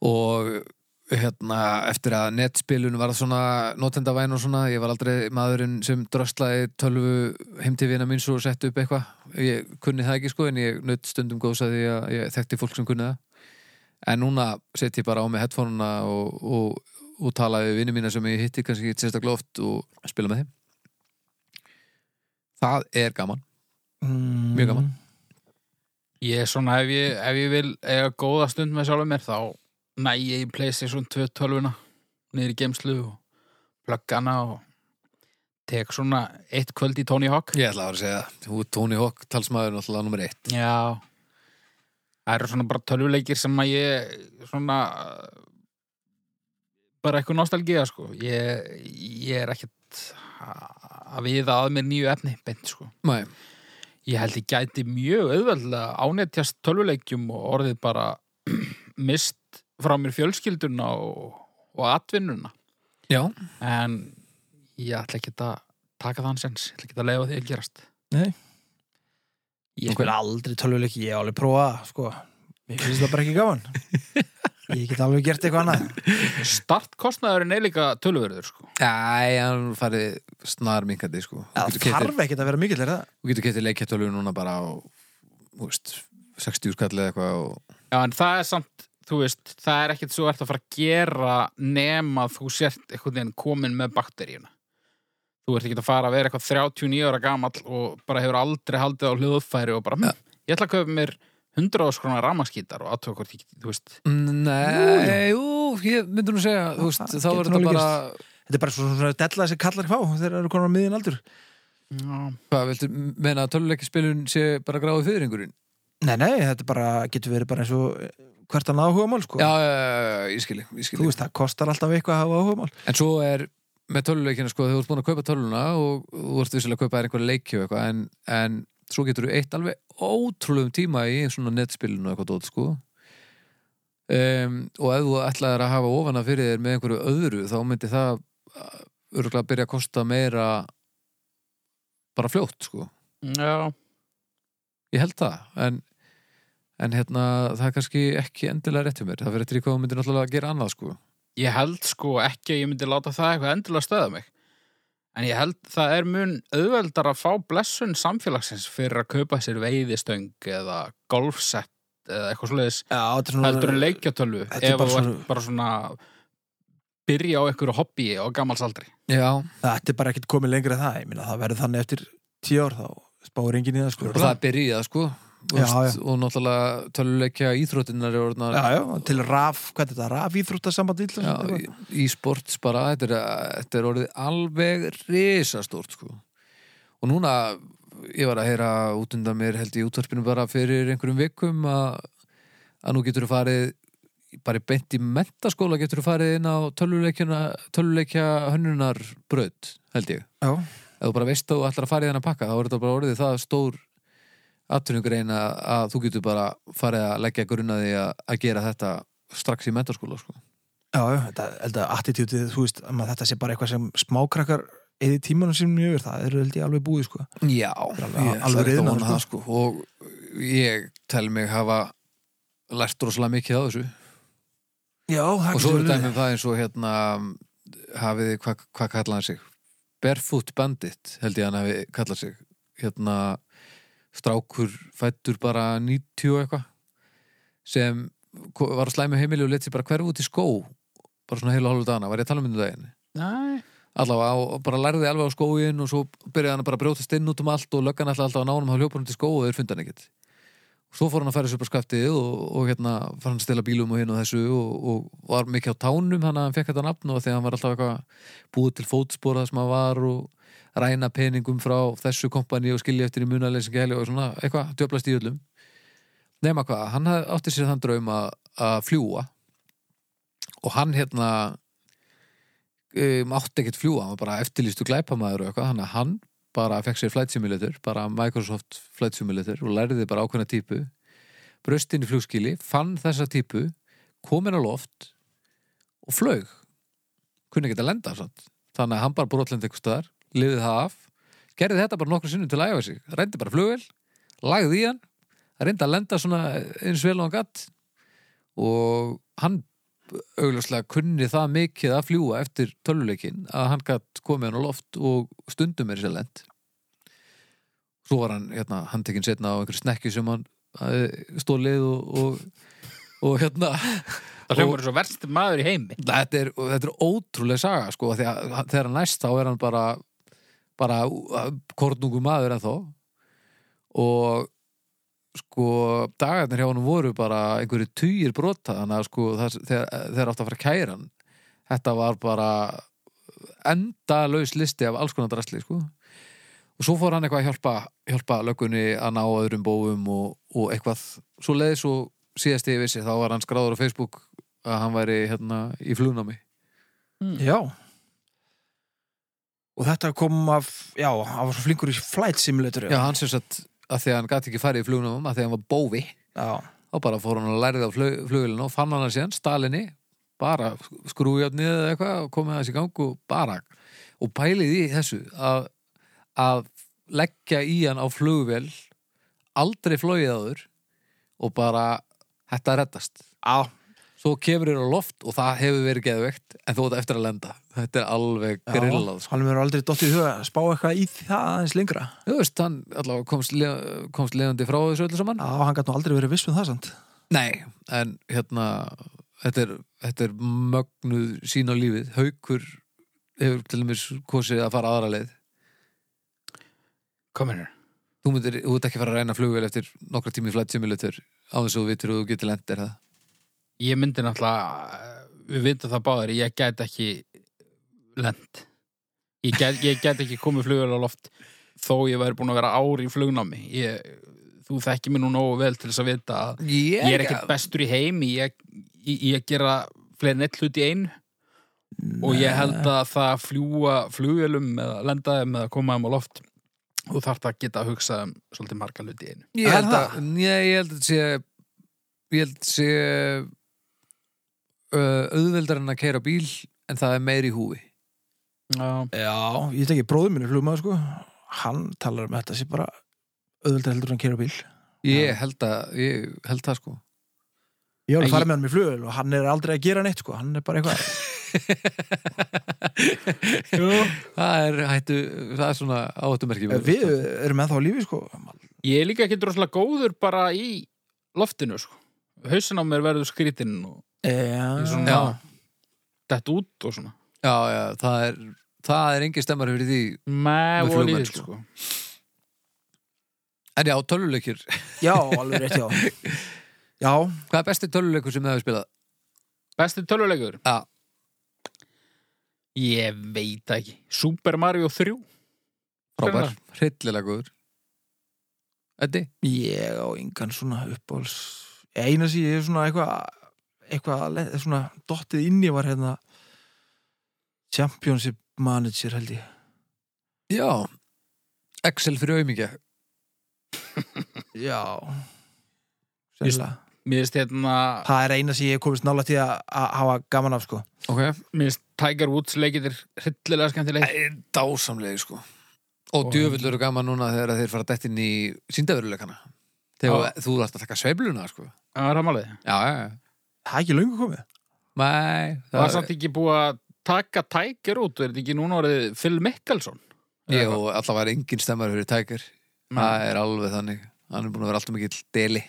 C: Og hérna, eftir að netspilun var svona notendavæn og svona, ég var aldrei maðurinn sem dröslaði tölvu heimtífina mín svo og sett upp eitthvað. Ég kunni það ekki, sko, en ég naut stundum góðs að því að ég þekkti fólk sem kunni það. En núna set ég bara á mig headphoneuna og, og, og tala við vinni mína sem ég hitti kannski ekki sérstaklega oft og spila með þeim. Það er gaman.
A: Mm,
C: Mjög gaman.
B: ég er svona ef ég, ef ég vil eiga góða stund með sjálfum mér þá næ ég í PlayStation 2 tölvuna niður í geimslu og pluggana og tek svona eitt kvöld í Tony Hawk.
C: Ég ætla að vera að segja það. Þú ert Tony Hawk talsmaður náttúrulega nummer eitt.
B: Já Það eru svona bara tölvuleikir sem að ég svona bara eitthvað nostalgía sko ég, ég er ekkert að viða að mér nýju efni beint sko.
C: Nei.
B: Ég held ég gæti mjög auðveldlega ánetjast tölvuleikjum og orðið bara *clears throat* mist frá mér fjölskylduna og, og atvinnuna
C: Já.
B: en ég ætla ekki að taka þann sens, ég ætla ekki að leiða því að gerast
A: Nei. Ég
B: Ég
A: spila aldrei töluleiki, ég hef alveg prófað það, sko. Mér finnst það bara ekki
C: *laughs*
A: gaman Ég get alveg gert eitthvað annað
B: startkostnaðurinn er líka tölvurður sko.
C: Æ, hann farið snar minkandi, sko. Þú
A: Það
C: getur keyptir-
A: þarf ekkert að vera mikill er það
C: Þú getur getið leikjartölu núna bara á, þú veist, 60 skall eða eitthvað og...
B: Já, en það er samt, þú veist, það er ekkert svo ert að fara að gera nema þú sért einhvern veginn komin með bakteríuna. Þú ert ekki að fara að vera eitthvað 39 ára gamall og bara hefur aldrei haldið á hljóðfæri og bara, ja. ég ætla að köpa mér 100 áskrona ramaskítar og aðtöku hvort ég, get- þú veist,
C: Nei, jú, ég myndi nú segja, þú veist,
A: það
C: þá
A: getur
C: er
A: nú
C: þetta
A: alveg
C: bara...
A: Þetta er bara svona, svona della þessi kallar hvá þegar það eru konar á miðin aldur
B: já,
C: Hvað, viltu meina að töluleikjaspilun sé bara gráðu fyrir einhverjum?
A: Nei, nei, þetta bara getur verið bara eins og eh, hvert annað áhugamál, sko
C: Já, já, já, já, ég skilji, ég
A: Þú
C: skilji.
A: veist, það kostar alltaf eitthvað að hafa áhugamál
C: En svo er með töluleikina sko, þú ert búin að kaupa töluna og þú ert vissilega að kaupa þér einhverja leiki og eitthvað en, en svo getur þú eitt alveg ótrúlegum tíma í svona netspilinu og eitthvað dót sko um, og ef þú ætlaðir að hafa ofana fyrir þér með einhverju öðru þá myndi það uh, örgulega byrja að kosta meira bara fljótt sko
B: já,
C: ég held það en, en hérna það er kannski ekki endilega rétt hjá mér það fyrir eftir í hvað þú myndir náttúrulega að gera annað sko
B: ég held sko ekki að ég myndi láta það eitthvað endilega stöða mig. En ég held það er mun auðveldar að fá blessun samfélagsins fyrir að kaupa sér veiðistöng eða golfsett eða eitthvað svoleiðis
A: Já, þetta er svona
B: heldur en leikjatölvu
A: Þetta er
B: ef
A: bara
B: þú ert
A: svona-
B: bara svona byrja á einhverju hobby á gammalsaldri
C: Já,
A: Þetta er bara ekkert komið lengra en það Ég minna, það verður þannig eftir tíu ár þá spáir enginn í það, sko
C: og það er byrjað sko Þú
A: Já,
C: veist, og náttúrulega töluleikja íþrótinnar er orðnar
A: Já, já, til raf, hvað er þetta, raf íþróttasamband
C: Já, í, í sports bara þetta er, þetta er orðið alveg risastórt sko og núna ég var að heyra út undan mér held ég í útvarpinu bara fyrir einhverjum vikum að, að nú getur þú farið bara í beint í mentaskóla getur þú farið inn á tölvuleikjana- tölvuleikja hönnunar braut held ég
A: já,
C: ef þú bara veist að þú ætlar að fara í þennan pakka þá er þetta bara orðið það stór aðtunugrein að, að þú getur bara farið að leggja grunnaði að, að gera þetta strax í mentaskóla sko.
A: Já, já, þetta, þetta attitútið, þú veist, um að þetta sé bara eitthvað sem smákrakkar eða tímanum sem yfir, það eru held ég alveg búið, sko.
C: Já,
A: alveg-
C: ég
A: alveg
C: ætla ekki að
A: reiðmaður,
C: vona það sko og ég tel mig hafa lært rosalega mikið á þessu
A: Já, það
C: og svo er dæmum það eins og hérna hafið, þið- hvað hva kallað hann sig Barefoot Bandit held ég hann hafi kallað sig hérna strákur fættur bara 90 og eitthvað sem ko- var á slæmi heimili og let sér bara hverf út í skó bara svona heila hálfu dana, var ég að tala um þetta daginn
B: Nei.
C: allavega og bara lærði alveg á skóin og svo byrjaði hann að bara að brjótast inn út um allt og löggan alltaf alltaf á nánum og hljópa hann til skó og þeir funda hann ekkert svo fór hann að færa sér upp á skaftið og, og hérna fór hann að stela bílum og hinn og þessu og, og var mikið á tánum hann að hann fekk þetta nafn og þegar hann var alltaf eitthvað búið til fótspora sem hann var og ræna peningum frá þessu kompani og skilja eftir í munaleysingaheli og svona eitthvað, döblast í öllum nema hvað, hann hafði átti sér þann draum að, að fljúa og hann hérna um, átti ekkert fljúa, hann var bara eftirlýstu glæpamaður og eitthvað, hann að hann bara fekk sér flight simulator, bara Microsoft flight simulator og læriði bara ákveðna típu braust inn í flugskili fann þessa típu, komin á loft og flög kunni ekki að lenda samt þannig að hann bara brotlendi eitthvað staðar, lifið það af gerði þetta bara nokkru sinnum til að æfa sig reyndi bara flugvel, lagði í hann reyndi að lenda svona eins vel og hann gatt og hann augljóslega kunni það mikið að fljúa eftir töluleikin að hann gætt komið hann á loft og stundum er sér lent svo var hann hérna, handtekinn setna á einhverju snekki sem hann hafði stólið og, og, og hérna
B: Það hljómar eins og verst maður í heimi.
C: þetta er, og þetta er ótrúlega saga sko, þegar, þegar hann næst þá er hann bara bara kornungu maður en þó og sko dagarnir hjá hann voru bara einhverju týjir brota þannig að sko það, þegar, þegar átt að fara að kæra hann þetta var bara endalaus listi af alls konar drastli sko og svo fór hann eitthvað að hjálpa, hjálpa löggunni að ná öðrum bóum og, og eitthvað svo leiðis og síðast ég vissi þá var hann skráður á Facebook að hann væri hérna í flugnámi
A: Já Og þetta kom af, já, hann var svo flinkur í flight simulator
C: Já, hann sem sagt að því að hann gæti ekki farið í flugnum að því að hann var bófi
A: já.
C: þá bara fór hann að lærið á flug, flugilinu og fann hann að síðan stalinni bara skrújafnið eða eitthvað og komið þessi í gang og bara og pælið í þessu að, að leggja í hann á flugvél aldrei flogið áður og bara þetta reddast
A: Já,
C: svo kemur þér á loft og það hefur verið geðveikt en þú ert eftir að lenda þetta er alveg grillað sko.
A: Hann verður aldrei dottið í huga að spá eitthvað í það aðeins lengra
C: Þú veist, hann allavega komst, le- komst lefandi frá þessu öllu saman
A: Já, hann gæti nú aldrei verið viss um það samt
C: Nei, en hérna þetta er, þetta er mögnuð sín á lífið, haukur hefur til dæmis kosið að fara aðra leið
B: Kom hérna.
C: þú myndir, þú ert ekki að fara að reyna flugvél eftir nokkra tími flight simulator á þess að þú vitur og þú getur lent er það
B: Ég myndi náttúrulega, eh, við vindum það báðir, ég gæti ekki lent. Ég gæti ég gæti ekki komið flugvel á loft þó ég væri búin að vera ár í flugnámi. Ég, þú þekki mér nú nógu vel til þess að vita að
C: ég,
B: ég er ekkert bestur í heimi, ég, ég, ég gera fleiri neitt hluti í einu og ég held að það að fljúa flugvelum eða lenda þeim eða koma þeim á loft og þarf það að geta að hugsa um svolítið marga hluti í einu.
C: ég held
A: Er
C: að ég, ég held að sé ég held að sé uh, auðveldar en að keira bíl en það er meiri í húfi
B: Já.
A: Já, ég teki bróður minni flugmaður sko Hann talar um þetta sé bara auðvitað heldur hann kera bíl
C: ég held að, ég held það sko
A: Ég var
B: En
A: að fara með hann í flugvél og hann er aldrei að gera neitt sko, hann er bara eitthvað
C: það er hættu, það er svona áhættumerki
A: Við erum ennþá á lífi sko
B: Ég er líka ekki droslega góður bara í loftinu, sko. Hausin á mér verður skrítinn og ég
A: Já,
B: svona dett út og svona.
C: Já, já, það er, það er engin stemmar fyrir því
B: Með
C: Með
B: og
C: flugmenn,
B: lífið,
C: sko.
B: sko.
C: En já, töluleikir,
A: já alveg rétt já Já,
C: hvað er besti töluleikur sem þið hefur spilað?
B: Besti töluleikur?
C: Já.
B: Ég veit það ekki. Super Mario 3?
C: Frábær, hryllilega góður Eddi?
A: ég á engan svona uppáhals eina sem ég er svona eitthvað eitthvað le- svona dottið inn í var hérna Championship Manager held ég
C: Já Excel fyrir aumingja
A: já Sennilega.
B: Mér finnst hérna,
A: það er eina sem ég hef komist nála til að að hafa gaman af sko
C: Ok
B: mér finnst Tiger Woods leikitir hryllilega skemmtileg.
C: Dásamlega, sko Og
B: Og-
C: djöfull eru gaman núna þegar þeir fara dætt inn í síndaveruleikana Þegar þú þarft að taka sveifluna, sko
B: Það er hamalið.
C: Já, já, já
A: það er ekki löngu komið
C: Nei,
B: Það er samt ekki búið að taka Tiger út, er þetta ekki núna orðið Phil Mickelson?
C: Ég og allavega er engin stemmar fyrir tækir Það er alveg þannig Hann er búin að vera alltaf mikill deli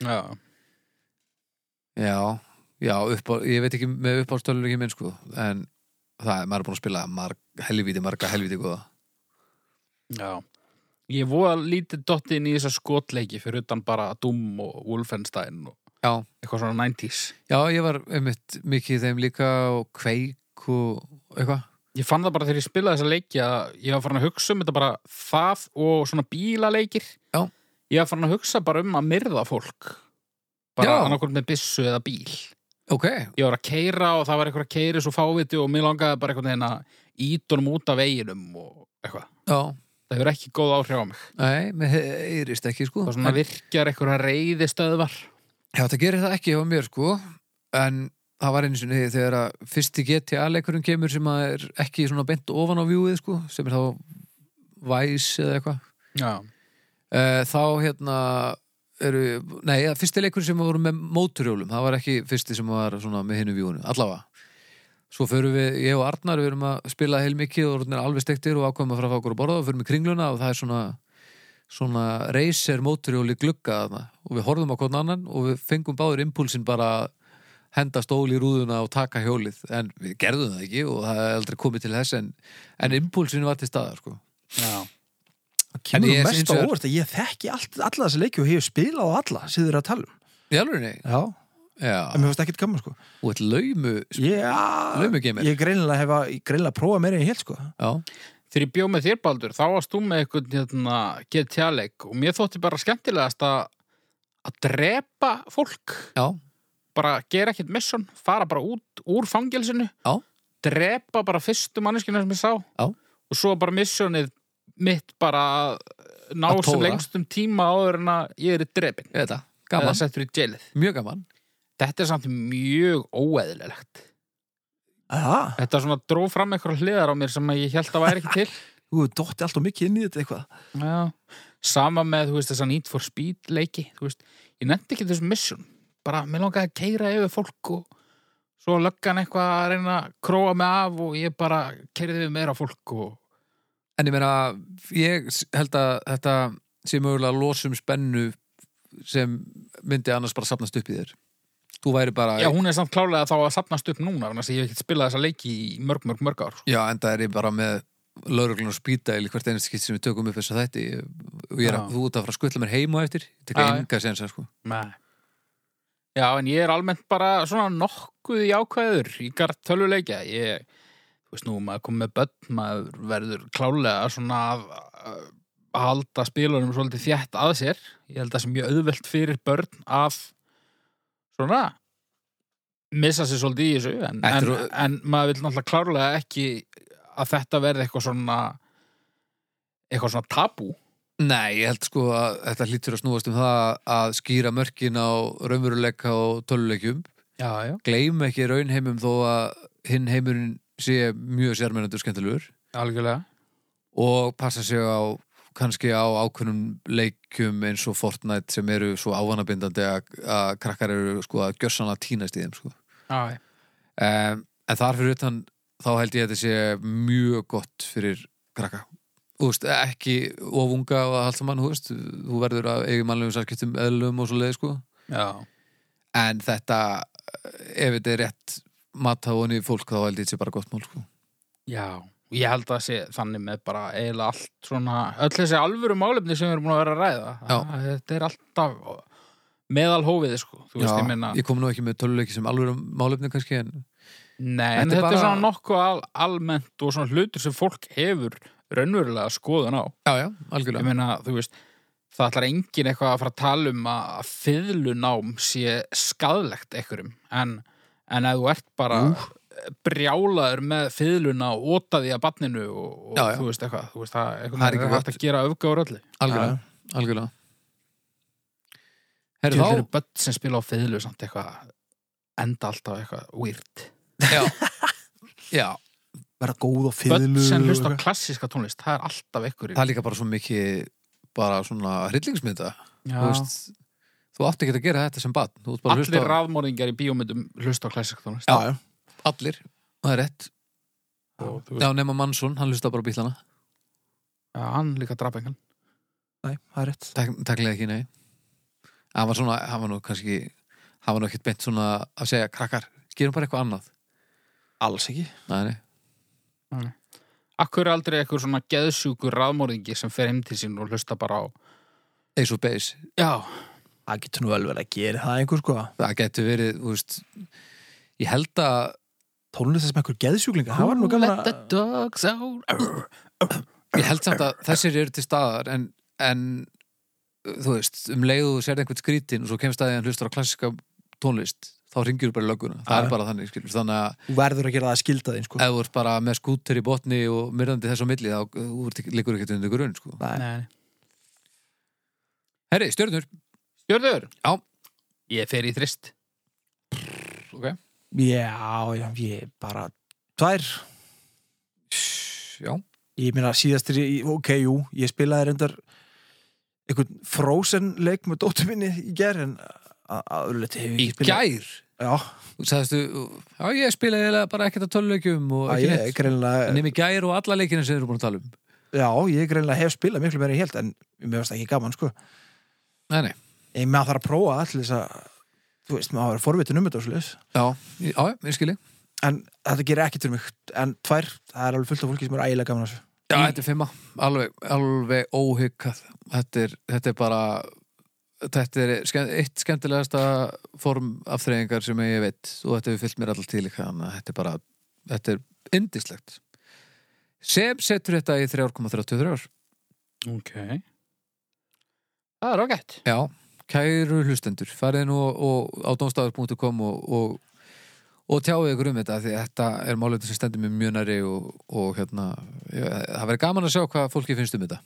B: Já.
C: Já, já upp á, ég veit ekki með uppástöldur ekki minn sko en það er, maður er búin að spila marg, helvíti marga helvíti góða
B: Já. Ég er voða lítið dottinn í þessa skotleiki fyrir utan bara Doom og Wolfenstein og
C: Já.
B: eitthvað svona 90s.
C: Já, ég var einmitt mikið í þeim líka og kveik og eitthvað.
B: Ég fann það bara þegar ég spilaði þessa leiki að ég var farin að hugsa um þetta bara það og svona bílaleikir.
C: Já.
B: Ég var farin að hugsa bara um að myrða fólk. Bara
C: Já.
B: annarkvöld með byssu eða bíl.
C: Ok,
B: Ég var að keira og það var eitthvað að keiri svo fáviti og mér langaði bara einhvern veginn að ítunum út af veginum og eitthvað.
C: já,
B: Það hefur ekki góð áhrif á mig.
C: nei, mér heyrist ekki sko.
B: Það svona virkjar eitthvað reyðistöðvar.
C: Já, það gerir það ekki hjá mér sko, en það var einu sinni þegar að fyrsti GTA-leikurinn kemur sem að er ekki svona bent ofan á vjúið sko, sem er þá Vice eða eitthvað.
B: Já.
C: Eh, Þá hérna eru, nei, ja, fyrsti leikur sem voru með móturjólum, það var ekki fyrsti sem var svona með hinu vjúinu, allavega. Svo förum við, ég og Arnar, við erum að spila heil mikið og orðin er alveg stektir og ákveðum að fara að fá okkur að borða og förum í kringluna og það er svona svona reyser móturjóli glugga þarna og við horfum á hvern annan og við fengum báður impulsin bara að henda stól í rúðuna og taka hjólið en við gerðum það ekki og það er aldrei komið til þess en, en impulsin var til staðar sko.
B: Já.
A: Það kemur
C: ég
A: nú
C: er
A: mest
C: eins
A: á
C: og-
A: óvart að ég þekki all, alla þessi leiki og hefur spilað á alla síður að tala um.
C: Í alveg nei?
A: Já, en
C: Já,
A: mér fannst ekkert gaman sko.
C: og eitt laumu
A: Já,
C: Laumugamer.
A: ég greinilega hefa, ég greinilega prófa meira en ég held sko.
C: Já,
B: þegar ég bjó með þér Baldur þá varst þú með eitthvað hérna, GTA-leik og mér þótti bara skemmtilegast að að drepa fólk
C: já,
B: bara gera ekkert mission, fara bara út úr fangelsinu,
C: Já.
B: drepa bara fyrstu manneskina sem ég sá
C: Já.
B: og svo bara missionið mitt bara að ná
C: Að
B: sem
C: tóra.
B: lengstum tíma áður en að ég er í drepin
C: ég veit það,
B: eða
C: gaman,
B: settur í jailið.
C: mjög gaman
B: Þetta er samt mjög óeðlilegt
A: Það,
B: Þetta svona dró fram eitthvað hliðar á mér sem að ég held að væri ekki til
A: þú dótti alltaf mikið inn í þetta eitthvað.
B: Já, sama með, þú veist, þessa Need for Speed leiki, þú veist, ég nefndi ekki þessum mission, bara, mér langaði að keira yfir fólk og svo löggan eitthvað að reyna að króa mig af og ég bara keirði yfir meira fólk og
C: En ég meina, ég s- held að þetta sé mögulega losum spennu sem myndi annars bara safnast upp í þér Þú væri bara
B: já, hún er samt klálega þá að safnast upp núna, þannig að ég hef ekki spilað þessa leiki í mörg, mörg, mörg ár. sko.
C: Já, enda er ég bara með lauruglun og spýta í hvert einast skitt sem við tökum upp þess að þetta og ég er
B: Já.
C: að, þú út að fara að skutla mér heima eftir ég tek
B: Já, já.
C: enga sensa sko
B: Nei. Já, en ég er almennt bara svona nokkuð í ákveður í garð tölvuleikja. Ég, þú veist nú, maður kom með börn, maður verður klálega svona að, að halda spilunum svolítið þjætt að sér. Ég held að það sé mjög auðvelt fyrir börn að svona missa sér svolítið í þessu, en,
C: Þetta
B: en,
C: eru-
B: en maður vil náttúrulega klárlega ekki að þetta verði eitthvað svona eitthvað svona tabú.
C: Nei, ég held sko að þetta hlýtur að snúast um það að skýra mörkin á raunveruleika og töluleikjum
B: Já, já.
C: gleym ekki raunheimum þó að hinn heimurinn sé mjög sérmennandur skemmtilegur
B: Algjörlega.
C: og passa sig á kannski á ákveðnum leikjum eins og Fortnite sem eru svo ávanabindandi að, að krakkar eru sko að gjörsanna tínast í þeim sko.
B: Já, já.
C: um, en þar fyrir utan þá held ég að þetta sé mjög gott fyrir krakka Þú veist, ekki ofunga og allt saman, þú veist, þú verður að eigi mannlegum sarkiptum eðlum og svo leið, sko.
B: Já.
C: En þetta, ef þetta er rétt matta honi fólk, þá held ég þetta sé bara gott mál, sko.
B: Já, og ég held að það sé þannig með bara eiginlega allt svona, öll þessi alvöru málefni sem við erum búin að vera að ræða.
C: Já.
B: Að Þetta er alltaf meðal hófið, sko. Þú veist, ég minna,
C: ég kom nú ekki með töluleiki sem alveg málefni kannski, en
B: nei, en
C: Þetta er
B: þetta er
C: bara-
B: svona nokkuð al, almennt og svona hlutur sem fólk hefur raunverulega skoðun á.
C: já, já,
B: Ég
C: algjörlega.
B: meina, þú veist, það ætlar engin eitthvað að fara að tala um að að fiðlunám sé skadlegt einhverjum, en, en að þú ert bara brjálaður með fiðluna og ótaði að barninu og, og
C: Já, já.
B: þú veist eitthvað, þú veist, það, einhvern
C: Það er
B: veginn
C: ekki
B: er hægt
C: gott.
B: að gera öfgáður öllu.
C: Algjörlega, algjörlega.
B: Til
C: Herru,
B: þeir eru
C: þá,
B: börn sem spila á fiðlu samt eitthvað enda alltaf eitthvað weird
C: já,
A: Verða góð og fiðlu.
B: Börn sem hlusta á klassíska tónlist, það er alltaf ykkur í
C: það er líka bara svo mikið bara svona hryllingsmynda,
B: Já.
C: þú veist, þú átti ekki að gera þetta sem barn, þú ert bara að
B: Allir
C: hlusta á
B: rafmóringar í bíómyndum hlusta á klassíska tónlist
A: Já, já.
C: allir, það er rétt,
B: og þú veist,
C: já, nema Mansson, hann hlusta bara á bílana,
B: já, hann líka draf engan
A: Nei, það er rétt.
C: Tek, teklega ekki, nei, hann var svona, hann var nú kannski, hann var nú ekkert beint svona að segja, krakkar, gerum bara eitthvað annað,
A: Alls ekki.
C: nei, nei,
B: Akkur er aldrei eitthvað svona geðsjúkur ráðmóringi sem fer heim til sín og hlusta bara á
C: Ace of Base
B: Já,
A: Það getur nú alveg verið að gera það einhver sko
C: það getur verið, þú veist ég held að
A: Tónlist sem einhver geðsjúklinga Það var nú gaman
B: Let the
A: að
B: dogs out
C: ég held samt að þessir eru til staðar en, en þú veist, um leið og þú sér einhvern skrítin og svo kemst að því að hann hlustar á klassiska tónlist þá ringjur bara í lögguna, það
A: Já, já.
C: er bara þannig skilur. þannig að
A: Þú verður að gera það að skilda þeim sko
C: ef þú ert bara með skúter í botni og myrðandi þess á milli þá eh, þú ert ekki- liggur ekkert undir grunn sko.
A: Nei.
B: Nei.
C: Herri, stjörnur,
B: Stjörður?
C: Já.
B: Ég fer í þrist
C: ok
A: Já, já, ég bara Tvær
C: já,
A: Ég meina síðastir, í- ok, jú, ég spilaði reyndar einhvern frozen leik með dóttu minni í gær en að að öðru leyti hefur
C: í
A: ég ekki spilað.
C: gær
A: Já,
C: Þú sagðistu, já ég spilaði eiginlega bara ekkert að töluleikjum og
A: að
C: ekki
A: ég
C: neitt
A: greinlega,
C: nefnir gær og alla leikina sem við erum búin að tala um
A: já, ég greinlega hef spilað miklu meira í held en mér finnst það ekki gaman, sko.
C: nei, nei,
A: Ég maður þarf að prófa allir þess að, þú veist, maður er forvitin um þetta og slis.
C: já, já, já, ég skilji
A: En þetta gerir ekki til mig, en tvær, það er alveg fullt af fólki sem er ægilega gaman að þessu.
C: Já, þetta er fimma, alveg, alveg óhyggað þetta er, þetta er bara þetta er skemmt, eitt skemmtilegasta form af þreyingar sem ég veit og þetta hefur fyllt mér alltaf til líka þannig að þetta er bara, þetta er indislegt sem setur þetta í 3,33
B: Ok Það er ágætt
C: Já, kæru hlustendur farið nú og, og á domstafur.com og, og, og tjáðu ykkur um þetta því þetta er málefni sem stendur mér mjög næri og, og hérna ég, það verður gaman að sjá hvað fólki finnst um þetta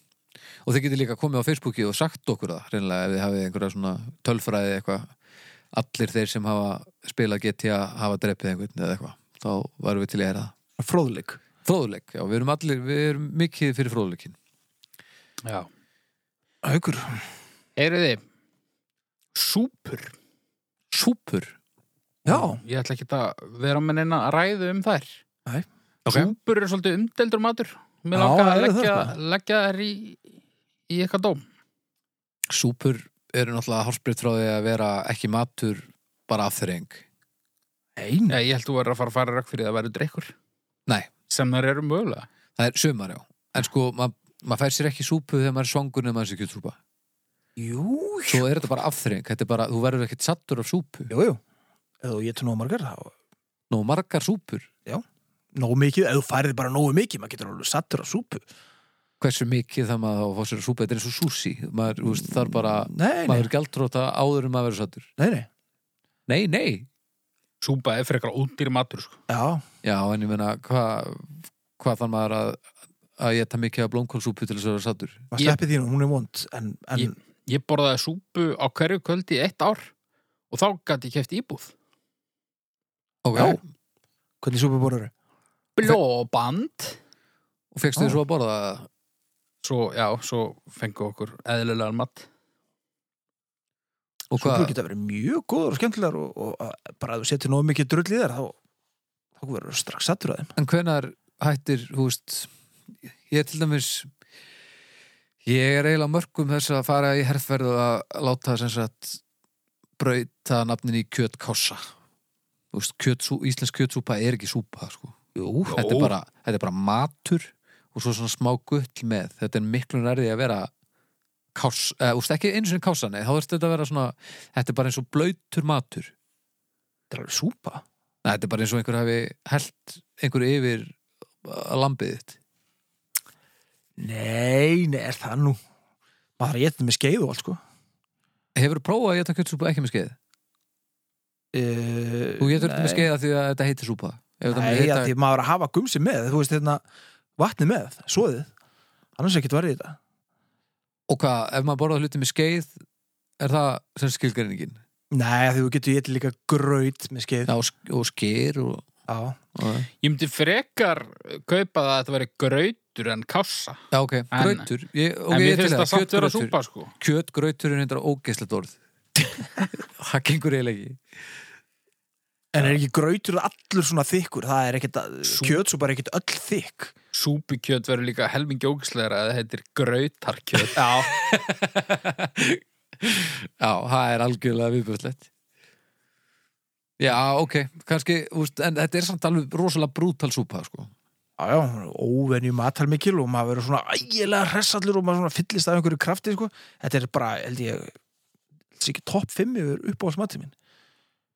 C: og þið getur líka komið á Facebooki og sagt okkur það reynilega ef þið hafið einhverja svona tölfræði eitthvað allir þeir sem hafa spilað GTA hafa drepið einhvern eða eitthvað þá varum við til í að heyra það
A: Fróðleik.
C: Fróðuleik, já, við erum allir, við erum mikið fyrir fróðuleikin
B: Já
A: Haukur.
B: Heyrðu þið Súpur
C: Súpur
A: Já,
B: Ég ætla ekki að vera með neina að ræðu um þær
A: Nei.
C: Ok.
B: Súpur er svolítið umdeldur matur Mér
A: Já,
B: langar að
A: það eru
B: leggja,
A: það,
B: leggja þær í, í eitthvað dóm
C: súpur eru náttúrulega hálsbreytt frá því að vera ekki matur bara afþreng
A: einu.
B: Nei, Ég held þú verður að fara að fara rökk fyrir það verður dreikur
C: Nei.
B: Sem þær eru mögulega
C: það er sumar já, en sko maður ma fær sér ekki súpu þegar maður er svangur nema þessi kjötrúpa
A: Jú,
C: svo er þetta bara afþreng, þetta er bara þú verður ekkert sattur af súpu,
A: jú, jú. Ef þú getur nóg margar, þá
C: nú margar súpur
A: nógu mikið, ef þú færði bara nógu mikið maður getur alveg sattur á súpu
C: hversu mikið það maður á að fá sér að súpa þetta er eins og súsi, maður þú veist, þar bara
A: nei, nei,
C: maður er gjaldróta áður en maður verður sattur
A: nei, nei.
C: nei, nei,
B: Súpa er fyrir eitthvað útýr matur sko.
A: Já,
C: já en ég meina hvað hva þann maður að að ég ta mikið af blómkálsúpu til þess að vera sattur
A: maður sleppið þínu, hún er vond en, en
B: Ég- Ég borðaði súpu á hverju kvöldi í eitt ár og þá gæti ég keft íbúð.
C: ok,
A: Já. hvernig súpu borður
B: Blóband.
C: og fegstu þið
A: Já.
C: svo að borða það
B: Svo, já, svo fengið okkur eðlilegan mat.
C: og
A: súpu
C: hvað,
A: geta verið mjög góður og skemmtilegar og, og að- bara ef þú setur nógu mikið drull í þær þá, þá verður þú strax sattur að þeim
C: en hvenar hættir, þú veist ég er til dæmis ég er eiginlega á mörgum þess að fara í herðferð og að láta sem sagt brauta nafnin í kjötkássa þú veist, kjötsú, íslensk kjötsúpa er ekki súpa, sko
A: Jú,
C: þetta er, bara, þetta er bara matur og svo svona smá gull með þetta er miklu nærði að vera kás, eða, þú veist, ekki einu sinni kása nei, þá er þetta að vera svona, þetta er bara eins og blautur matur
A: þetta er alveg súpa
C: Nei, þetta er bara eins og einhver hafi held einhverju yfir uh, lambið þitt.
A: Nei, nei, er það nú maður er getið með skeið og allt sko
C: Hefur þú prófað að geta kjötsúpa ekki með skeið?
A: e,
C: Þú getur ekki með skeið af því að þetta heitir súpa. Ef þetta
A: Nei,
C: myndi
A: heita...
C: heita-
A: því maður er að hafa gumsi með þú veist hérna, vatni með, svoðið annars ekkert verið í þetta
C: Og hvað, ef maður borðar hluti með skeið, er það sem skilgreiningin?
A: Nei, af því þú getur getið líka gröyt með skeið
C: Já, og sk- og skeir og...
A: Já.
C: og
B: Ég myndi frekar kaupa það að þetta veri grautur en kassa.
C: já, ok, grautur. Ég, ok,
B: en mér
C: ég er til
B: finnst það samt vera
C: Kjötgrautur.
B: súpa, sko.
C: Kjötgrautur er reyndar ógeðslegt *laughs* orð. það gengur eiginlega ekki.
A: En er ekki grautur allur svona þykkur? Það er ekkit,
B: Sú-
A: kjötsúpa er ekkit öll þykk.
B: Súpukjöt verður líka helmingi ógislegra að það heitir
C: *laughs*
B: grautarkjöt. Já.
C: Já, það er algjörlega viðbjörnslegt Já, ok, kannski, úst, en þetta er samt alveg rosalega brútal súpa, sko
A: já, hún er óvenju matalmikil og maður verður svona ægilega hressallur og maður svona fyllist af einhverju krafti sko. þetta er bara, held ég þessi ekki topp 5 yfir uppáhaldsmatið minn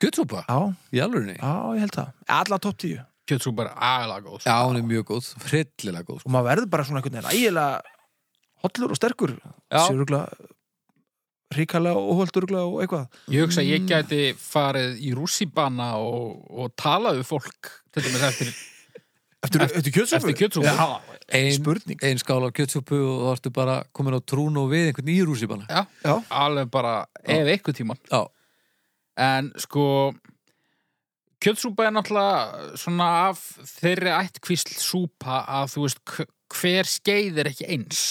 C: Guttsúpa,
A: já,
C: í alvörinni
A: já, ég held það, alla topp 10
B: Kjötsúpa er aðalega góð sko.
C: Já, hún er mjög góð, hryllilega góð sko.
A: og maður verður bara svona einhvern veginn ægilega hollur og sterkur
C: Já.
A: sérugla ríkala og holdurugla og eitthvað
B: Ég hugsa að ég gæti farið í rússibanna og, og talað við fólk til dæmis eftir,
A: eftir, eftir kjötsúpu?
B: eftir kjötsúpu
A: Já,
C: Ein,
A: spurning
C: ein skála guttsúpu og þú ertu bara komin á trún og við einhvern í rússipanna
B: Já,
A: Já.
B: alveg bara ef eitthvað tíma
C: Já.
B: En sko kjötsúpa er náttúrulega svona af þeirri ættkvísl súpa að þú veist k- hver skeið er ekki eins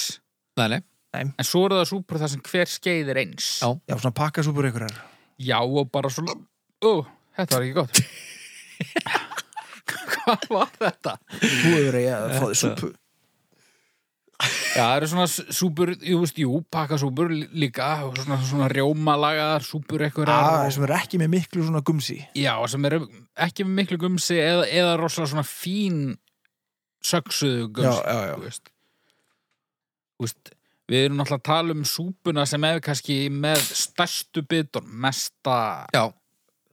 C: Nei, nei,
B: En svo eru það súpur þar sem hver skeið er eins
C: Já.
A: já, svona pakkasúpur einhverjar
B: Já, og bara svona Ó, þetta var ekki gott *laughs* Hvað var þetta?
A: þú hefur eigið að fá því súpu
B: Já, það eru svona s- súpur, jú veist, jú, pakkasúpur lí- líka, og svona, svona rjómalagaðar súpur
A: Ah,
B: eitthvað
A: sem er ekki með miklu svona gumsi
B: Já, sem eru ekki með miklu gumsi eða, eða rosalega svona fín söksuðu gumsi,
A: Já, já, já.
B: þú veist Þú veist, við erum náttúrulega að tala um súpuna sem er kannski með stærstu bitur, mesta
C: já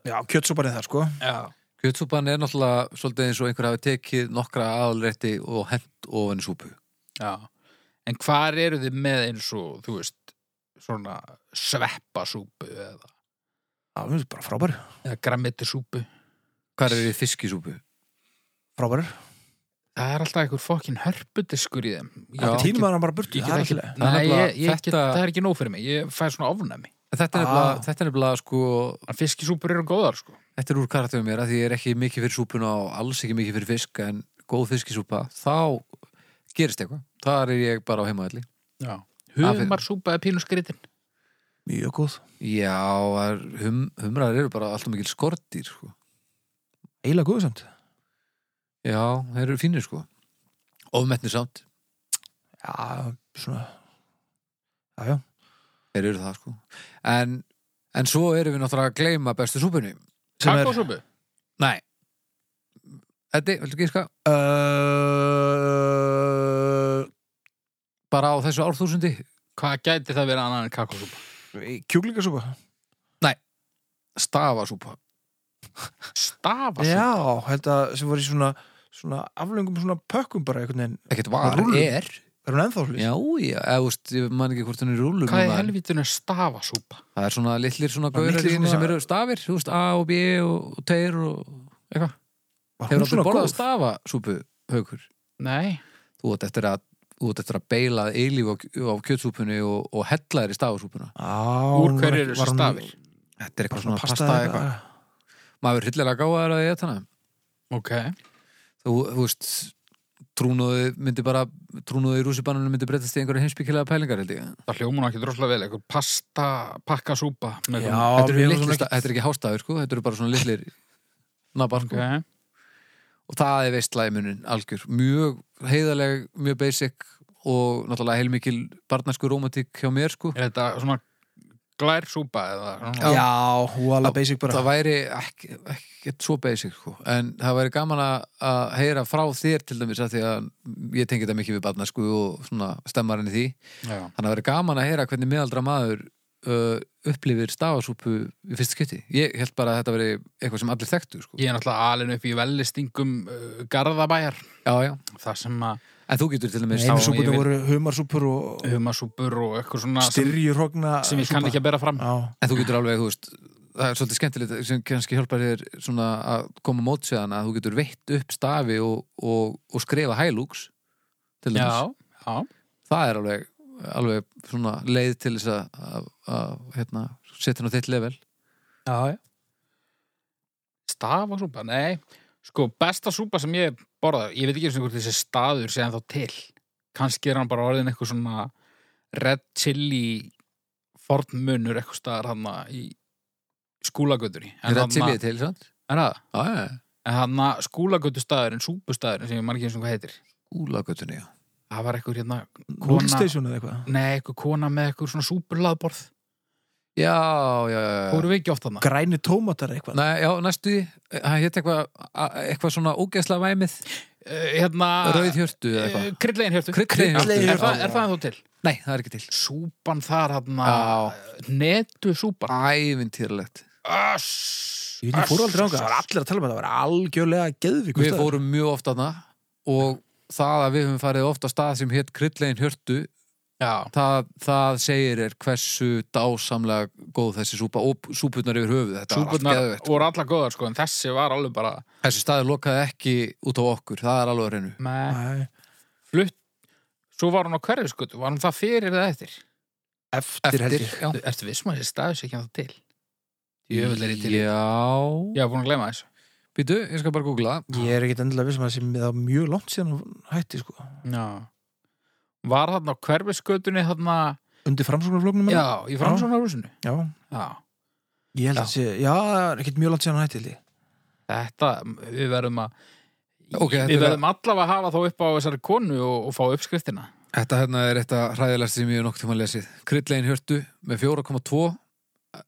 A: já, kjötsúparið það sko
B: Já,
C: Guttsúpan er náttúrulega svolítið eins og einhver hafi tekið nokkra aðalrétti og hent ofan í súpu
B: já En hvar eru þið með eins og, þú veist, svona sveppasúpu eða,
A: já, mér finnst bara frábær
B: eða grammetisúpu
C: Hvar er í fiskisúpu?
A: frábær
B: Það er alltaf einhver fokkin hörpudiskur í þeim. Ég
C: Já.
B: get-
A: tímum er hann bara burtu
B: ég
A: það
B: get
A: er allt
B: ekki,
A: í lagi.
C: Það er
B: nei,
C: nefnilega-
B: ég, ég get,
C: þetta-
B: það er ekki nóg fyrir mig. Ég fæ svona ofnæmi.
C: Þetta er
A: Ah.
C: nefnilega, þetta er nefnilega sko,
B: En fiskisúpur eru góðar, sko.
C: þetta er úr karakterum mér að því ég er ekki mikið fyrir súpuna og alls ekki mikið fyrir fisk en góð fiskisúpa, þá gerist eitthvað. Þar er ég bara á heimaðalli.
B: Já. Humarsúpa er pínu skritin.
A: mjög góð
C: Já, það er- hum, humrar eru bara alltaf mikil skortýr sko.
A: eiginlega góð samt
C: Já, þeir eru fínir sko. Ofmetni samt,
A: já, svona já, já
C: þeir eru það sko. En, en svo erum við náttúrulega að gleyma bestu súpunni.
A: Sem er-
B: Kakosúpu?
C: Nei. Þetta, viltu gíska?
A: uh,
C: Bara á þessu árþúsundi?
B: Hvað gæti það verið annað en kakosúpa?
A: kjúklingasúpa
C: Stafasúpa.
B: Stafasúpa?
A: já, held að sem voru í svona svona aflöngum svona pökkum bara einhvern veginn
C: Ekkert var,
A: Rúllur.
C: er.
A: er hún ennþá hlýst
C: Já, já, eða, úst, ég man ekki hvort hún er í rúlum
B: Hvað
C: núna,
B: er
C: en
B: helvítinu stafasúpa?
C: Það er svona litlir svona
A: Bara
C: gaurar
A: litlir
C: í henni
A: svona-
C: sem eru stafir, þú veist, A og B og, og teir og eitthvað
A: var
C: Hefur
A: hún
C: aldrei
A: svona
C: borðað
A: góð
C: stafasúpu, haukur?
B: Nei.
C: Þú átt eftir að þú átt eftir að beila eilíf á, á kjötsúpunni og, og hella þér í stafasúpuna
A: á, hún
B: Úr
A: var-
B: hverju eru
A: var
B: þessi
A: hún-
B: stafir?
C: Þetta er
A: bara
C: eitthvað svona pasta, eitthvað Maður er hryllilega gáðar að ég þetta hana
B: Ok.
C: Þú, þú veist, trúnóði myndi bara trúnóði í rússibananum myndi breytast í einhverju heimsbyggilega pælingar, held ég
B: Það hljóma nú ekki droslega vel. Eitthvað pasta, pakkasúpa. með
A: já,
B: einhverjum-
C: Þetta eru
A: mér finnst
C: litlir
A: hún
C: sta-
A: ekki-
C: þetta er ekki hástafir, sko, þetta eru bara svona litlir nabar, sko
B: Ok.
C: og það er veistlæði munin algjör mjög heiðaleg, mjög basic og náttúrulega heilmikil barnasku rómatík hjá mér sko
B: Er þetta svona glærsúpa eða svona?
A: já, hún var alveg basic bara
C: það væri ekki, ekkert svo basic sko en það væri gaman að- að heyra frá þér til dæmis að því að ég tengi þetta mikið við barnasku og svona stemmar henni því
B: Já.
C: þannig að væri gaman að heyra hvernig miðaldra maður uh, upplifir stafasúpu í fyrsta skytti ég held bara að þetta veri eitthvað sem allir þekktu sko.
B: Ég er náttúrulega alin upp í vellistingum uh, Garðabæjar,
C: já, já,
B: þar sem að
C: en þú getur til dæmis
B: Nei,
C: já,
B: svo-
A: einsúpunni
B: ég vil-
A: voru humarsúpur og
B: humasúpur og eitthvað svona sem,
A: styrjurhogna
B: sem ég kann ekki að bera fram.
A: já
C: En þú getur alveg, þú veist, það er svolítið skemmtilegt sem kannski hjálpar þér svona að koma mót séðan að þú getur veitt upp stafi og, og, og skrifa hælúks til þess.
B: Já, já.
C: Það er alveg, alveg svona leið til þess að, að, að hérna, setja hann á þitt level.
B: Já, já. Stafasúpa, nei. Sko, besta súpa sem ég borða, ég veit ekki einu sinni hvort þessi staður sé ennþá til. Kannski er hann bara orðin eitthvað svona red chili fornmunur eitthvað staðar hann í skúlagötunni. En
C: Er það til
B: þarna-
C: ég til, sant?
B: Er það?
C: Já, já, já.
B: En hann að skúlagötu staðurinn, súpustaðurinn sem ég margir eins og hvað heitir.
C: Úlagötunni, já.
B: Það var eitthvað hérna,
A: Núlstation eða eitthvað
B: nei, eitthvað kona með eitthvað svona súpurlaðborð.
C: Já, já, já, já.
B: Hvor við ekki oft hann?
A: Græni tómatar eitthvað
C: Nei, já, næstu, því, það hétt eitthvað, eitthvað svona ógeðsla væmið.
B: eh, hérna...
C: Rauð hjörtu eða
B: eh,
C: eitthvað
B: krydlegin hjörtu.
C: Krydlegin hjörtu.
B: Er,
A: Krydlegin
B: það-
A: hjörtu.
B: er það ennþá til?
C: Nei, það er ekki til
B: Súpan þar, hérna...
C: Já.
B: Netu súpan.
C: Ævintýralegt
B: Öss.
A: Ég veit, ég fór aldrei ánga, það var allir að tala um að það var algjörlega geðvík
C: Við fórum mjög ofta hana og það að við höfum farið ofta stað sem hétt Kryllegin Hjörtu
B: Já.
C: það, það segir er hversu dásamlega góð þessi súpa og súpurnar yfir höfuð, þetta var allt
B: Súpurnar
C: geðvegt
B: voru alla góðar, sko, en þessi var alveg bara...
C: Þessi staði lokaði ekki út á okkur, það er alveg að reynu
B: Nei.
A: Nei,
B: Flutt. Svo var hún á hverfiskutu. Var hún það fyrir eða eftir?
A: eftir held ég
C: já
B: Ertu viss maður þessi staðis ekki að það til? Jöfull er ég til í-
C: Já,
B: Ég hef búin að glema þessu.
C: býtu, ég skal bara googla það.
A: Ég er ekkit endilega vissum að það sé með það mjög langt síðan hún hætti sko
B: Já. Var þarna á hverfiskutunni þarna...
A: Undir framsóknarflóknum
B: Já, í framsóknarhúsinu.
A: já,
B: Já.
A: ég held að sé, já, það er ekkit mjög langt síðan hún hætti held ég
B: Þetta, við verðum að...
C: Ok, þetta
B: við
C: er-
B: verðum allavega að hafa þá upp á þessari konu og, og fá uppskriftina.
C: Þetta hérna er eitt að hræðilegst sem ég er nokkuð tíma að lesið Kryllegin Hjörtu með 4,2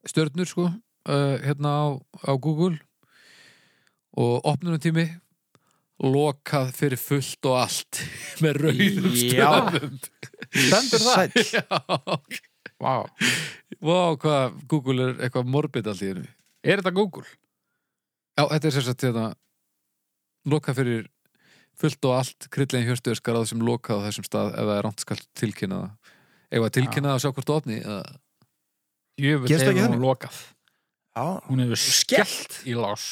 C: stjörnur sko uh, hérna á, á Google og opnunutími lokað fyrir fullt og allt *laughs* með rauðum
A: Já.
C: stöfum
A: Stendur það? Sæll,
C: *laughs* Já
B: Vá.
C: Vá, hvað Google er eitthvað morbid allt í hennu
B: Er þetta Google?
C: Já, þetta er sem sagt hérna lokað fyrir fullt og allt Kryllegin Hjörtu er skarað sem lokað á þessum stað ef það er rámt skal tilkynna það Ef að tilkynna það og sjá hvort það opni eða
B: Jöfull
A: Gerist
B: hefur
A: ekki
B: hún
A: þannig?
B: lokað.
A: já,
B: Hún hefur skellt í lás.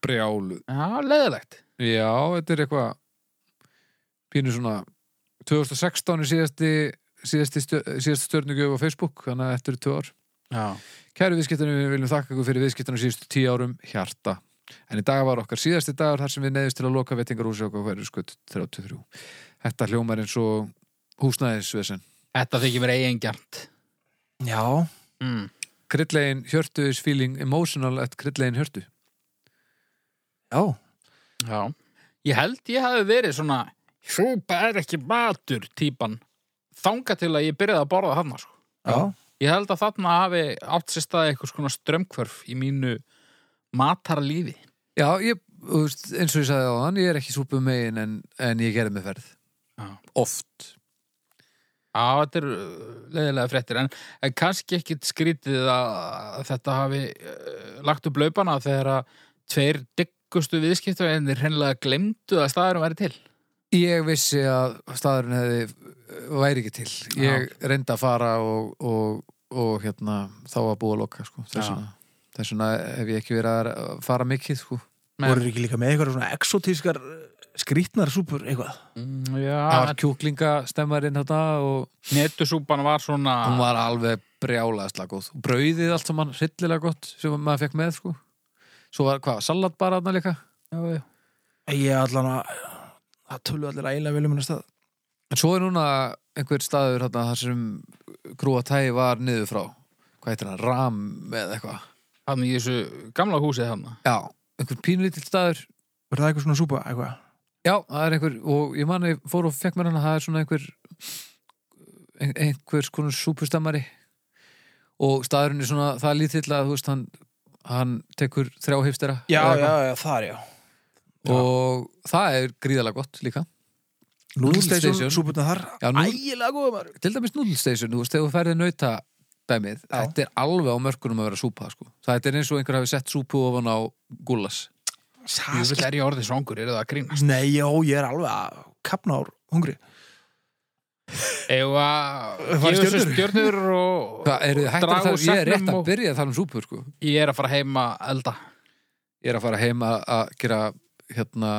C: brjálu
B: Já, leðilegt.
C: Já, þetta er eitthvað pínu svona 2016 er síðasti síðasti, stjör, síðasti stjörnugjöf á Facebook þannig að þetta eru tvö ár.
B: Já.
C: Kæru viðskiptunum, við viljum þakka ykkur fyrir viðskiptunum síðustu tíu árum hjarta. En í dag var okkar síðasti dagur þar sem við neyðist til að loka veitingarúsi okkar hverju skutt 33. Þetta hljómar eins og húsnæðisvesen.
B: Þetta þykir mér eigingjart.
A: já,
B: Mm.
C: Kryllegin hjörtu is feeling emotional at kryllegin hjörtu.
A: já
B: Já. Ég held ég hafi verið svona súpa er ekki matur típan þanga til að ég byrjaði að borða þarna sko.
A: Já,
B: Ég held að þarna hafi átt sér staði eitthvað svona strömmkvörf í mínu matarlífi.
C: Já, ég, þú veist, eins og ég sagði á ég er ekki súpum megin en, en ég gerði með ferð.
B: Já.
C: Oft.
B: Já, þetta eru leðilega fréttir en, en kannski ekkit skrítið að þetta hafi uh, lagt upp laupana þegar að tveir diggustu viðskiptu en þeir hreinlega glemdu að staðurum væri til.
C: Ég vissi að staðurinn hefði, eh, væri ekki til. Ég reyndi að fara og, og, og hérna, þá var búið að loka, sko. Þess
B: Já.
C: vegna, þess vegna hef ég ekki verið að fara mikið, sko.
B: Men-
A: voru ekki líka með eitthvað svona exotískar eh, skrýtnar súpur eitthvað
B: Mm, já,
C: Það var kjúklingastemmarinn þetta og
B: netusúpan var svona...
C: hún var alveg brjálaðislega góð. Brauðið allt saman hryllilega gott sem maður fekk með, sko. Svo var, hvað, salat bara þarna líka?
B: Já, já.
A: Ég allan að, það tölu allir ægilega vel um hennar stað
C: En svo er núna einhver staður þarna þar sem grúa tæi var niður frá. Hvað heitir hann? Ram eða eitthvað.
B: Þannig í þessu gamla húsið þarna.
C: Já, einhver pínlítill staður
A: Var það eitthvað svona súpa, eitthvað?
C: Já, það er einhver, og ég man að ég fór og fekk mér hana, það er svona einhver ein- einhvers konar súpustammari og staðurinn er svona það lítill að, þú veist, hann hann tekur þrjá hipstera eða eitthvað.
A: já, það er já
C: og það er gríðalega gott líka
A: Núlstation,
C: Station.
A: súpurna þar
C: Já, nú-
A: Ægilega góða maður
C: til dæmis núlstation, þú veist, þegar þú ferði nauta dæmið,
A: Já.
C: þetta er alveg á mörkunum að vera súpa, sko, það er eins og einhver hafi sett súpu ofan á gúlas
B: Ég vil er ég orðið svangur, eru það að grínast?
A: Nei, já, ég er alveg að kapna ár hungri
B: Eða að
A: Fara
B: gefa þessu
A: stjörnur?
B: stjörnur og,
C: Hvað, er þið
B: og
C: hægt að
B: draga
C: það,
B: úr
C: ég er rétt
B: segnum
C: að
B: og
C: byrja að tala um súpu, sko
B: ég er að fara heima að elda.
C: ég er að fara heim að, að gera hérna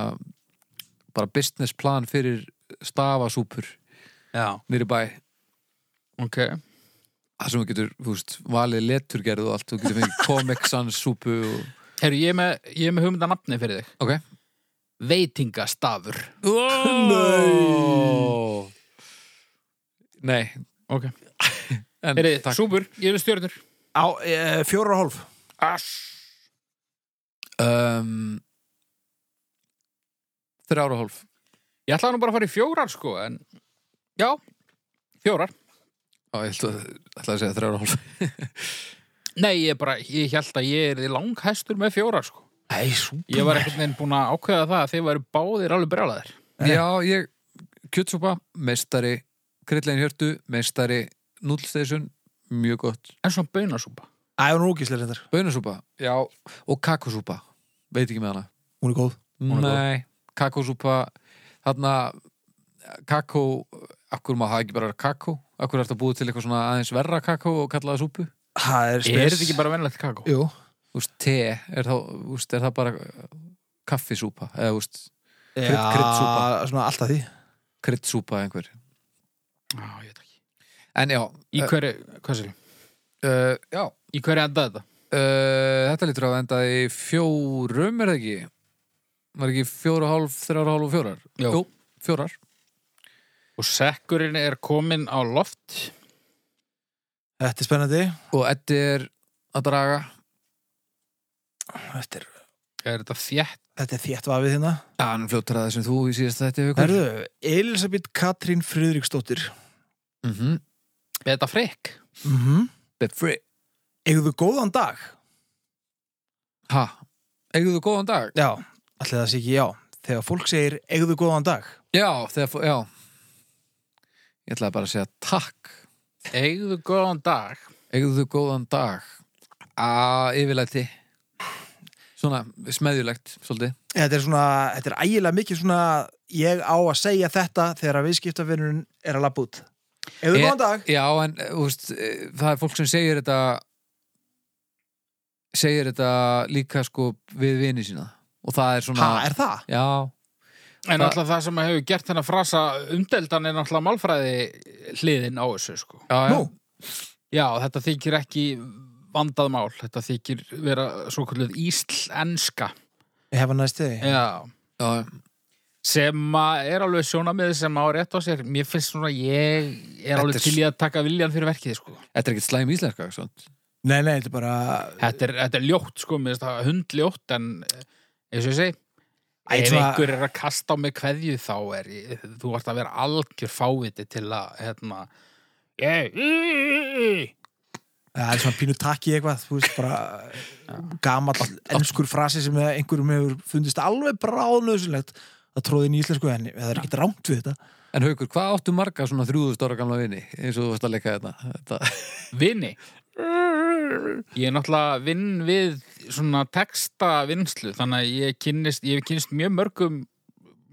C: bara business plan fyrir stafasúpur
B: Já.
C: nýri bæ,
B: Ok.
C: það sem þú getur þú veist, valið leturgerð og allt þú getur fengið Comic Sans súpu og...
B: Herru, ég er með, ég er með hugmynda nafni fyrir þig.
C: ok
B: Veitingastafur.
C: oh! nei
B: Ok.
C: *laughs* en,
B: Herru,
C: takk.
B: súpur, ég vil stjörnur.
A: Á, e, fjóra og hálf
B: Ass.
C: um, þrjára og hálf
B: Ég ætlaði nú bara að fara í fjórar, sko, en... Já, fjórar.
C: á, ég ætla, ætla að segja þrjára og hálf
B: Nei, ég bara, ég held að ég er langhæstur með fjórar, sko.
A: Ei, súpa
B: Ég var ekkert neginn búin að ákveða það að þeir væru báðir alveg brjálæðir.
A: Nei.
C: Já, ég kjötsúpa, meistari Krillegin Hjörtu, meistari Núllstation, mjög gott
B: En svona baunasúpa.
A: Æ, hún er ógíslega reyndar,
C: Bönasúpa, já Og kakosúpa, veit ekki með hana
A: hún er góð
B: Hún er góð.
C: Nei, kakosúpa Þarna, kakó Akkur maður hafa ekki bara kakó Akkur er þetta búið til eitthvað svona aðeins verra kakó og kalla það súpu
A: Það er
B: Er
A: spes
B: þetta ekki bara venlegt kakó?
A: Jú,
C: Þú veist, te, er, þá, þú veist, er það bara uh, kaffisúpa eða þú veist,
A: krydd,
C: krydd- kryddsúpa.
A: Svona alltaf því
C: kryddsúpa einhver
B: Já, ég veit ekki.
C: En já,
B: Í
C: uh,
B: hverju, hvað sér ég?
C: uh, já uh,
B: Í hverju enda þetta?
C: þetta lítur að enda í fjórum er það ekki var ekki fjóra og hálf, þrjára og hálf og fjórar
B: Jó.
C: Jú, fjórar
B: Og sekkurinn er komin á loft.
A: Þetta er spennandi
C: og Eddi er að draga
A: Þetta er,
B: Er þetta þjætt?
A: þetta er þétt vafið hérna
C: Já, hann er fljótur að það sem þú í síðast þetta haukur
A: Herðu, Elisabeth Katrín Friðriksdóttir
C: mm -hmm.
B: Er þetta frikk?
A: mm -hmm.
C: Befri
A: Eigðu góðan dag?
C: Ha, eigum þú góðan dag?
A: Já, allir það sé ekki já Þegar fólk segir eigðu góðan dag
C: Já, þegar, fó- já Ég ætlaði bara að segja takk
B: Eigðu góðan dag.
C: Eigðu þú góðan dag að yfirlæti Svona smeðjulegt svolítið
A: Þetta er svona, þetta er ægilega mikið svona ég á að segja þetta þegar að viðskiptavinnurinn er að labba út Eigðu
C: Ég-
A: góðan dag?
C: Já, en eh, úst, það er fólk sem segir þetta segir þetta líka sko við vini sína og það er svona
A: Ha, er það?
C: Já,
B: En
C: Það-
B: alltaf það sem hefur gert þennan frasa umdeldan er náttúrulega málfræði hliðin á þessu sko.
C: já, já.
A: Nú,
B: Já, þetta þykir ekki vandað mál, þetta þykir vera svo kvöldið íslenska.
A: ég hefa næst þig
B: Já,
C: já, já.
B: sem að er alveg sjónamið sem á rétt á sér. Mér finnst svona ég er alveg
C: Þetta er
B: til í að taka viljan fyrir verkið sko.
C: Þetta er ekkert slæm íslenska svont.
A: Nei, nei, þetta er bara
B: Þetta er, þetta er ljótt sko, mér finnst það hundljótt en eh, eins og ég segi,
A: Æ,
B: ef
A: svona-
B: einhver er að kasta á mig kveðju þá er ég, þú ert að vera algjör fáviti til að, hérna, ég, í, í, í, í.
A: Ja, Það er svona pínu takki eitthvað, þú veist, bara gamall ennskur frasi sem einhverjum hefur fundist alveg bráðnöðsynlegt að tróði inn í íslensku henni, það er ekkert rámt við þetta.
C: En Haukur, hvað áttu marga svona 300 ára gamla vini eins og þú varst að leika þetta? þetta.
B: Vini Ég er náttúrulega vinn við svona texta vinslu þannig að ég kynnist, ég hef kynnist mjög mörgum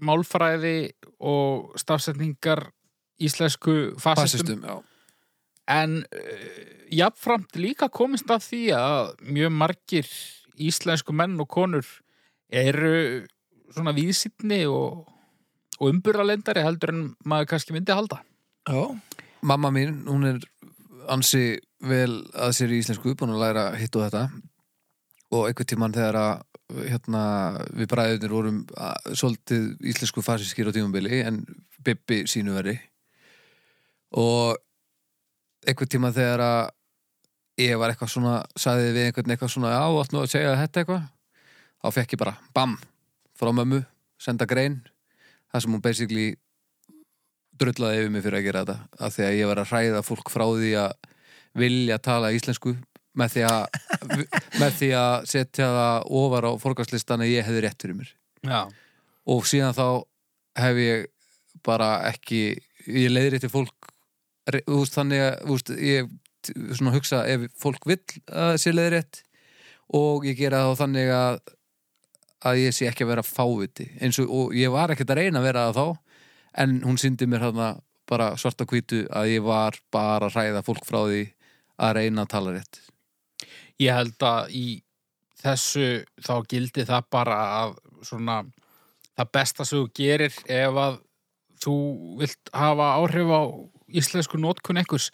B: málfræði og stafsetningar íslensku fasistum,
C: Fasistum, já.
B: en uh, jafnframt líka komist að því að mjög margir íslensku menn og konur eru svona víðsýtni og, og umburðalendari heldur en maður kannski myndi halda
A: Já.
C: mamma mín, hún er ansi vel að sér í íslensku búin að læra hitt og þetta og einhvern tímann þegar að hérna, við bræðunir vorum að, svolítið íslensku fasískir á tímambili en Bibbi sínu veri og einhvern tímann þegar að ég var eitthvað svona, sagði við einhvern eitthvað svona, já, þú átt nú að segja þetta eitthvað þá fekk ég bara, bam frá mömmu, senda grein það sem hún basically drullaði yfir mig fyrir að gera þetta af því að ég var að hræða fólk frá því að vilja tala íslensku með því að, *laughs* með því að setja það ofar á forgangslistan að ég hefði rétt fyrir mér
B: Já,
C: og síðan þá hef ég bara ekki ég leiðri til fólk re- þú veist, þannig að þú veist, ég t- svona hugsa ef fólk vill að sé leiðri rétt og ég gera þá þannig að að ég sé ekki að vera fáviti eins og, og ég var ekkert að reyna að vera það þá en hún syndi mér hérna bara svarta hvítu að ég var bara að hræða fólk frá því að reyna að tala rétt
B: Ég held að í þessu þá gildi það bara að svona það besta sem þú gerir ef að þú vilt hafa áhrif á íslensku nótkun einhvers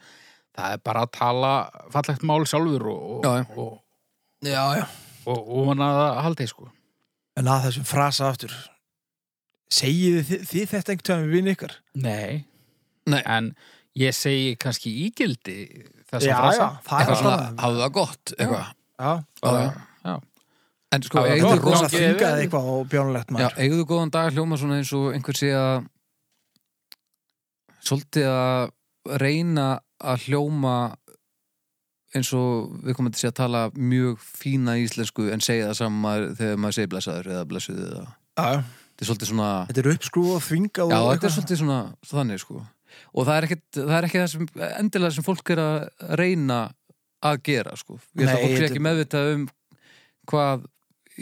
B: það er bara að tala fallegt mál sjálfur og,
C: Já, já.
B: og, og,
A: Já, já.
B: og, og vona að það haldi sko.
A: En að þessum frasa aftur, segið þið, þið þetta einhvern veginn við vinn ykkar?
B: Nei.
C: Nei.
B: En ég segi kannski ígildi þess
A: Já,
B: að
A: já, það
B: frasa
A: er
C: eitthvað
A: alltaf
C: svona,
A: það.
C: hafðu það gott eitthvað.
A: Já,
B: Bara- já.
C: en sko,
B: Já, já,
A: það
C: eigðu
A: er rosa
B: gangi þér
A: þungað
B: vel.
A: eitthvað og bjónulegt
C: Já,
A: maður.
C: eigðu góðan dag hljóma svona eins og einhver sé að svolítið að reyna að hljóma eins og við komum til að tala mjög fína íslensku en segja það saman þegar maður segir blessaður eða blessuðu eða
A: Já,
C: þetta er svolítið svona
A: þetta er uppskrúð og þvingað
C: já,
A: og
C: þetta er svolítið svona þannig sko og það er ekkit það, er ekki það sem, endilega sem fólk er að reyna að gera sko ég held
A: Nei,
C: að fólk sé
A: þetta-
C: ekki meðvitað um hvað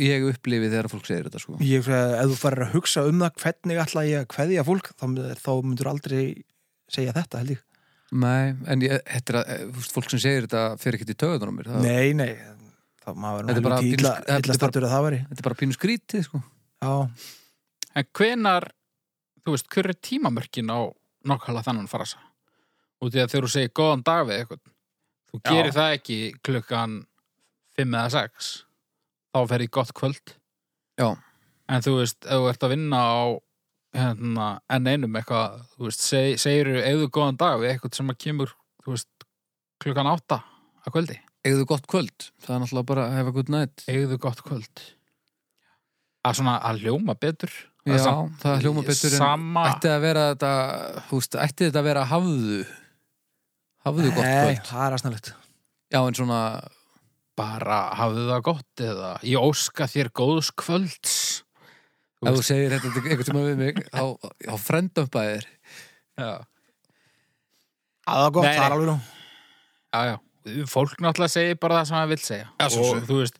C: ég upplifi þegar fólk segir þetta sko
A: Ég fyrir að ef þú farir að hugsa um það hvernig ætla ég að kveðja fólk þá, þá myndur aldrei segja þetta held ég
C: nei, en ég, þetta er að eh, þú veist, fólk sem segir þetta fer ekkit í töðunum mér það,
A: Nei, nei, það maður
C: Þetta er
A: verður
C: bara
A: nú helviti illa,
C: pínu- þetta er
A: illa
C: bara-
A: stattur að það væri
C: þetta er bara pínu skrítið sko
A: Já,
B: En hvenar, þú veist, hver er tímamörkin á nokkala þannan farasa? Út í að þegar þú segir góðan dag við eitthvað, þú
C: Já.
B: gerir það ekki klukkan 5 eða 6, þá fer ég gott kvöld.
C: Já.
B: En þú veist, ef þú ert að vinna á hérna, enn einum eitthvað, þú veist, seg, segir þú eigðu góðan dag við eitthvað sem að kemur, þú veist, klukkan 8 að kvöldi.
C: eigðu gott kvöld, það er náttúrulega bara have a good night
B: Eigðu gott kvöld. Að svona, að hljóma betur.
C: Já, það hljóma betur en
B: sama,
C: ætti að vera þetta, þú veist, ætti þetta að vera hafðu hafðu gott
A: Nei,
C: kvöld
A: það er aðsnarlegt
C: já en svona,
B: bara hafðu það gott eða ég óska þér góðs kvölds Þú
C: ef þú
B: veist.
C: segir þetta til- einhvern tímann við mig, þá, þá frendömpa þér
B: já,
A: Það er gott,
B: Nei,
A: það
B: nei.
A: er alveg nú
B: já, já. fólk náttúrulega segir bara það sem það vil segja
C: Já, svo
B: og
C: sem.
B: þú veist,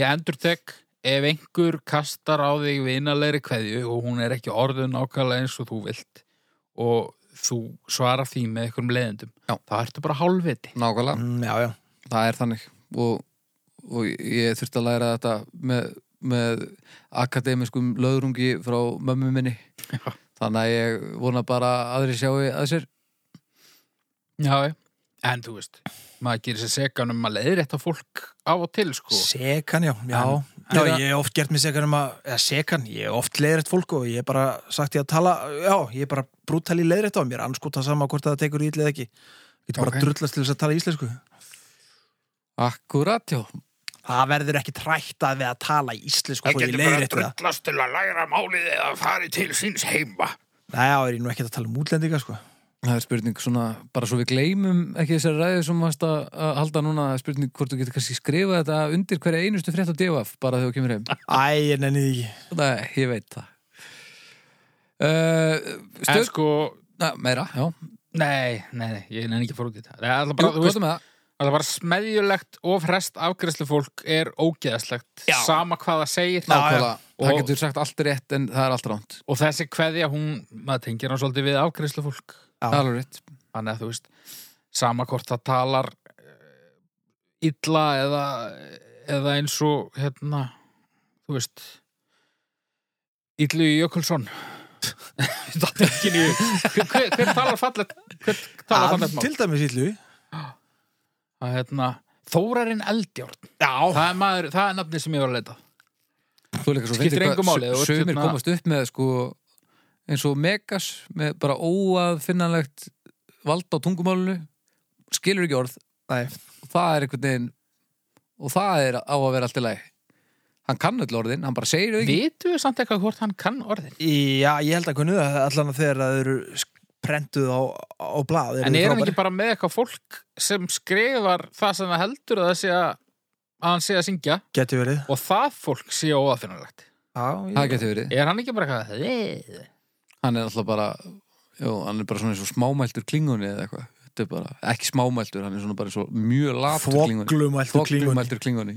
B: ég endur tek ef einhver kastar á þig vinalegri kveðju og hún er ekki orðun nákvæmlega eins og þú vilt og þú svarar því með einhverjum leiðendum
C: Já.
B: þá ertu bara hálfviti
C: nákvæmlega,
A: Mm, Já, já,
C: það er þannig og, og ég þurfti að læra þetta með, með akademiskum löðrungi frá mömmu minni þannig að ég vona bara að aðri sjáu að sér
B: já, já. en þú veist maður gerir sér segan um að leiðrétta fólk af og til sko
A: sekan, já Já,
B: En-
A: já
C: en-
A: ég hef oft gert mig sekan um að eða sekan, ég hef oft leiðrætt fólk og ég hef bara sagt ég að tala Já, ég hef bara brútali leiðrætt á mér anskota sama hvort það tekur í illa eða ekki Getur bara
B: Ok.
A: okay. drullast til þess að tala íslensku
C: akkurat, já,
A: Það verður ekki trætt að við að tala íslensku og ég leiðrætt það
B: drullast til að læra málið eða farið til síns heima.
A: Nei, já, er ég nú ekki að tala um útlendinga, sko
C: Það er spurning svona, bara svo við gleymum ekki þessari ræðu sem varst að að halda núna, það er spurning hvort þú getur kannski skrifað þetta undir hverja einustu frétt á divaf bara þegar þú kemur heim.
A: Æ,
B: *laughs*
A: ég nenni því ekki
C: Nei, ég veit það. Uh,
B: En
C: stöð,
B: sko,
C: na, meira, já.
B: nei, nei, nei, ég nefn ekki að fara út í þetta. Það er alltaf
C: Jú,
B: bara, þú veist,
C: gott með það.
B: það er bara smeðjulegt og frest afgræslu fólk er ógeðslegt.
C: Já.
B: Sama hvað það segir.
C: Nákvæmlega, það
B: Og-
C: getur sagt allt rétt en það er allt ránt.
B: Og þessi kveðja, hún, maður tengir hann svolítið við afgræslu fólk.
A: Já.
C: Það er alveg rétt.
B: Þannig að þú veist, sama hvort það talar eh, illa eða, eða eins og, hérna, þú veist, Illu Jökulsson. *laughs* það er ekki nýju. Hver, hver talar fallet? Hver talar
A: Af-
B: fallet mál?
A: Til dæmis íllu
B: að hérna, Þórarinn Eldjárn
A: Já,
B: það er, maður, það er nafni sem ég var að leita
C: Þú er líka svo
B: Skiptir
C: fyndið
B: engu
C: hvað
B: máli, þú ert
C: su- Sumir
B: hérna-
C: komast upp með sko eins og megas með bara óaðfinnanlegt vald á tungumálunu, skilur ekki orð
A: Nei,
C: og það er einhvern veginn og það er á að vera allt í lagi hann kann öll orðin, hann bara segir þau ekki
B: vitu við samt eitthvað hvort hann kann orðin
A: já, ég held að kunnu það allan að þegar það eru sk- prentuð á, á blað eru
B: en
A: þau
B: er hann
A: frábær.
B: ekki bara með eitthvað fólk sem skrifar það sem það heldur að, það sé að, að hann sé að syngja
A: Gæti verið
B: og það fólk sé óaðfinnulegt
A: Já,
C: það
A: ég...
C: getur verið,
B: er hann ekki bara eitthvað "Eh"?
C: hann er alltaf bara jú, hann er bara svona eins og smámæltur klingunni eða eitthvað, þetta er bara, ekki smámæltur hann er svona bara eins og mjög latur klingunni
A: Þvoglumæltu klingun
C: foglumæltur klingunni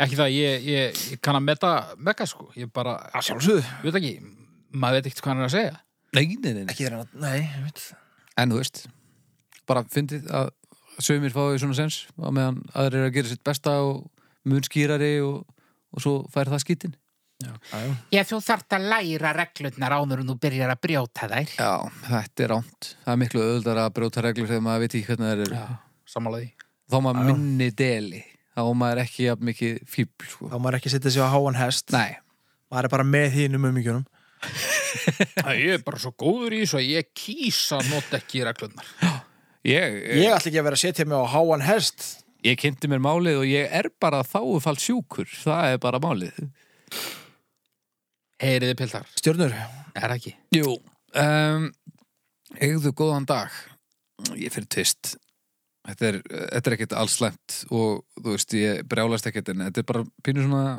B: ekki það, ég, ég, ég kann að meta mega sko, ég bara,
A: Já, sjálfsögðu
B: ég veit ekki maður veit ekkert hvað hann er að segja
C: nei, nei, nei, nei.
A: Ekki þeirra, nei, ég veit
C: en þú veist bara fyndið að sögumir fáið svona sens á meðan aðrir eru að gera sitt besta og mun skýrari og, og svo fær það skýtin
A: Já, já.
B: ég þú þarft að læra reglurnar áður en þú byrjar að brjóta þær
C: já, þetta er ránt það er miklu öðuldar að brjóta reglur þegar maður veit ekki hvernig það eru
B: samanlega því
C: þá á maður
A: Já.
C: minni deli þá á maður ekki jafn mikið fíbl sko.
A: Þá maður ekki setja sig á háan hest
C: nei,
A: Maður er bara með hínum um umíkjunum
B: Æ, ég er bara svo góður í þessu að ég kýs að nota ekki reglurnar.
C: ég,
A: Ég
C: ég,
A: ætla ekki að vera að setja mig á háan hest
C: ég kynnti mér málið og ég er bara þáufall sjúkur það er bara málið
B: Heyriði piltar,
A: Stjörnur
B: er það ekki?
C: jú um, eigðu góðan dag ég fyrir tvist þetta er, þetta er ekkit alls slæmt og þú veist, ég brjálast ekkit en þetta er bara pínu svona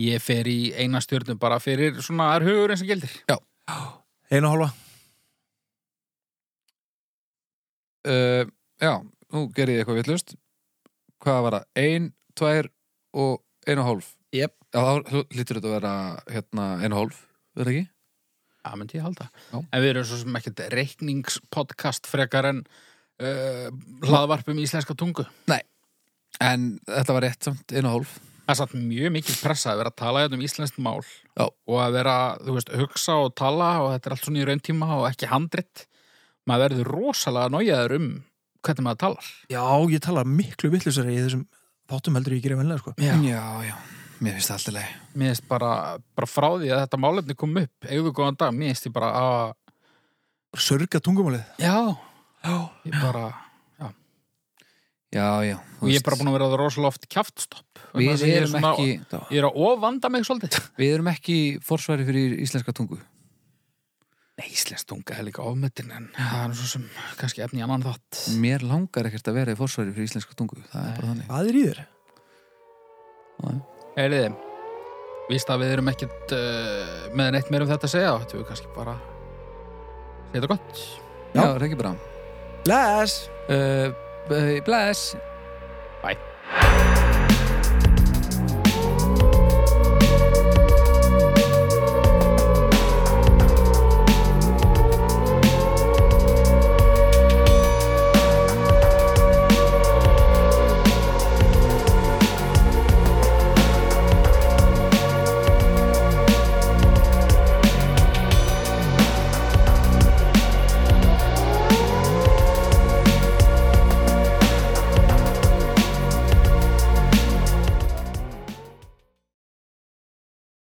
B: Ég fer í eina stjörnum bara fyrir svona er hugurinn sem gildir.
A: Einu og hálfa.
C: uh, Já, nú gerði ég eitthvað vitlust Hvað var það? Ein, tvær og ein og hálf
B: Jep.
C: Já, þá lítur þetta að vera hérna ein og hálf, verður ekki?
B: Það myndi ég halda.
C: Já.
B: En við erum svo sem ekkert reikningspodcast frekar en uh, hlaðvarp um íslenska tungu.
C: En þetta var rétt samt, ein og hálf
B: Það er satt mjög mikil pressa að vera að tala hérna um íslenskt mál
C: Já.
B: og að vera, þú veist, hugsa og tala og þetta er allt svona í rauntíma og ekki handrit. Maður verður rosalega nájaður um hvernig maður talar.
A: Já, ég tala miklu vittlusari í þessum þáttum heldur ég gerir vennilega, sko.
B: Já.
C: já, já. mér finnst það alltaf leið
B: Mér finnst bara, bara frá því að þetta málefni kom upp, eigðu góðan dag, mér finnst ég bara ah, að,
A: Sörga tungumálið.
B: já, ég bara,
C: Já, já þú
B: og ég er
C: veist,
B: bara búin að vera að rosalega oft kjaftstopp. Vegna þess
C: Við
B: að ég er
C: erum
B: svona-
C: ekki
B: Ég er að ofvanda mig svolítið.
C: Við erum ekki forsværi fyrir íslenska tungu
B: Nei, íslensk tunga er líka ofmetin en það er nú svo sem kannski efni í annan þátt.
C: Mér langar ekkert að vera í forsværi fyrir íslenska tungu Það er bara þannig
A: Hvað er í þér?
B: Heyriði, víst að við erum ekkert uh, með neitt meir um þetta að segja, þetta við kannski bara segja þetta gott.
A: Já.
C: Já, það er ekki bara
A: Bless!
C: uh, Bless
B: Bye.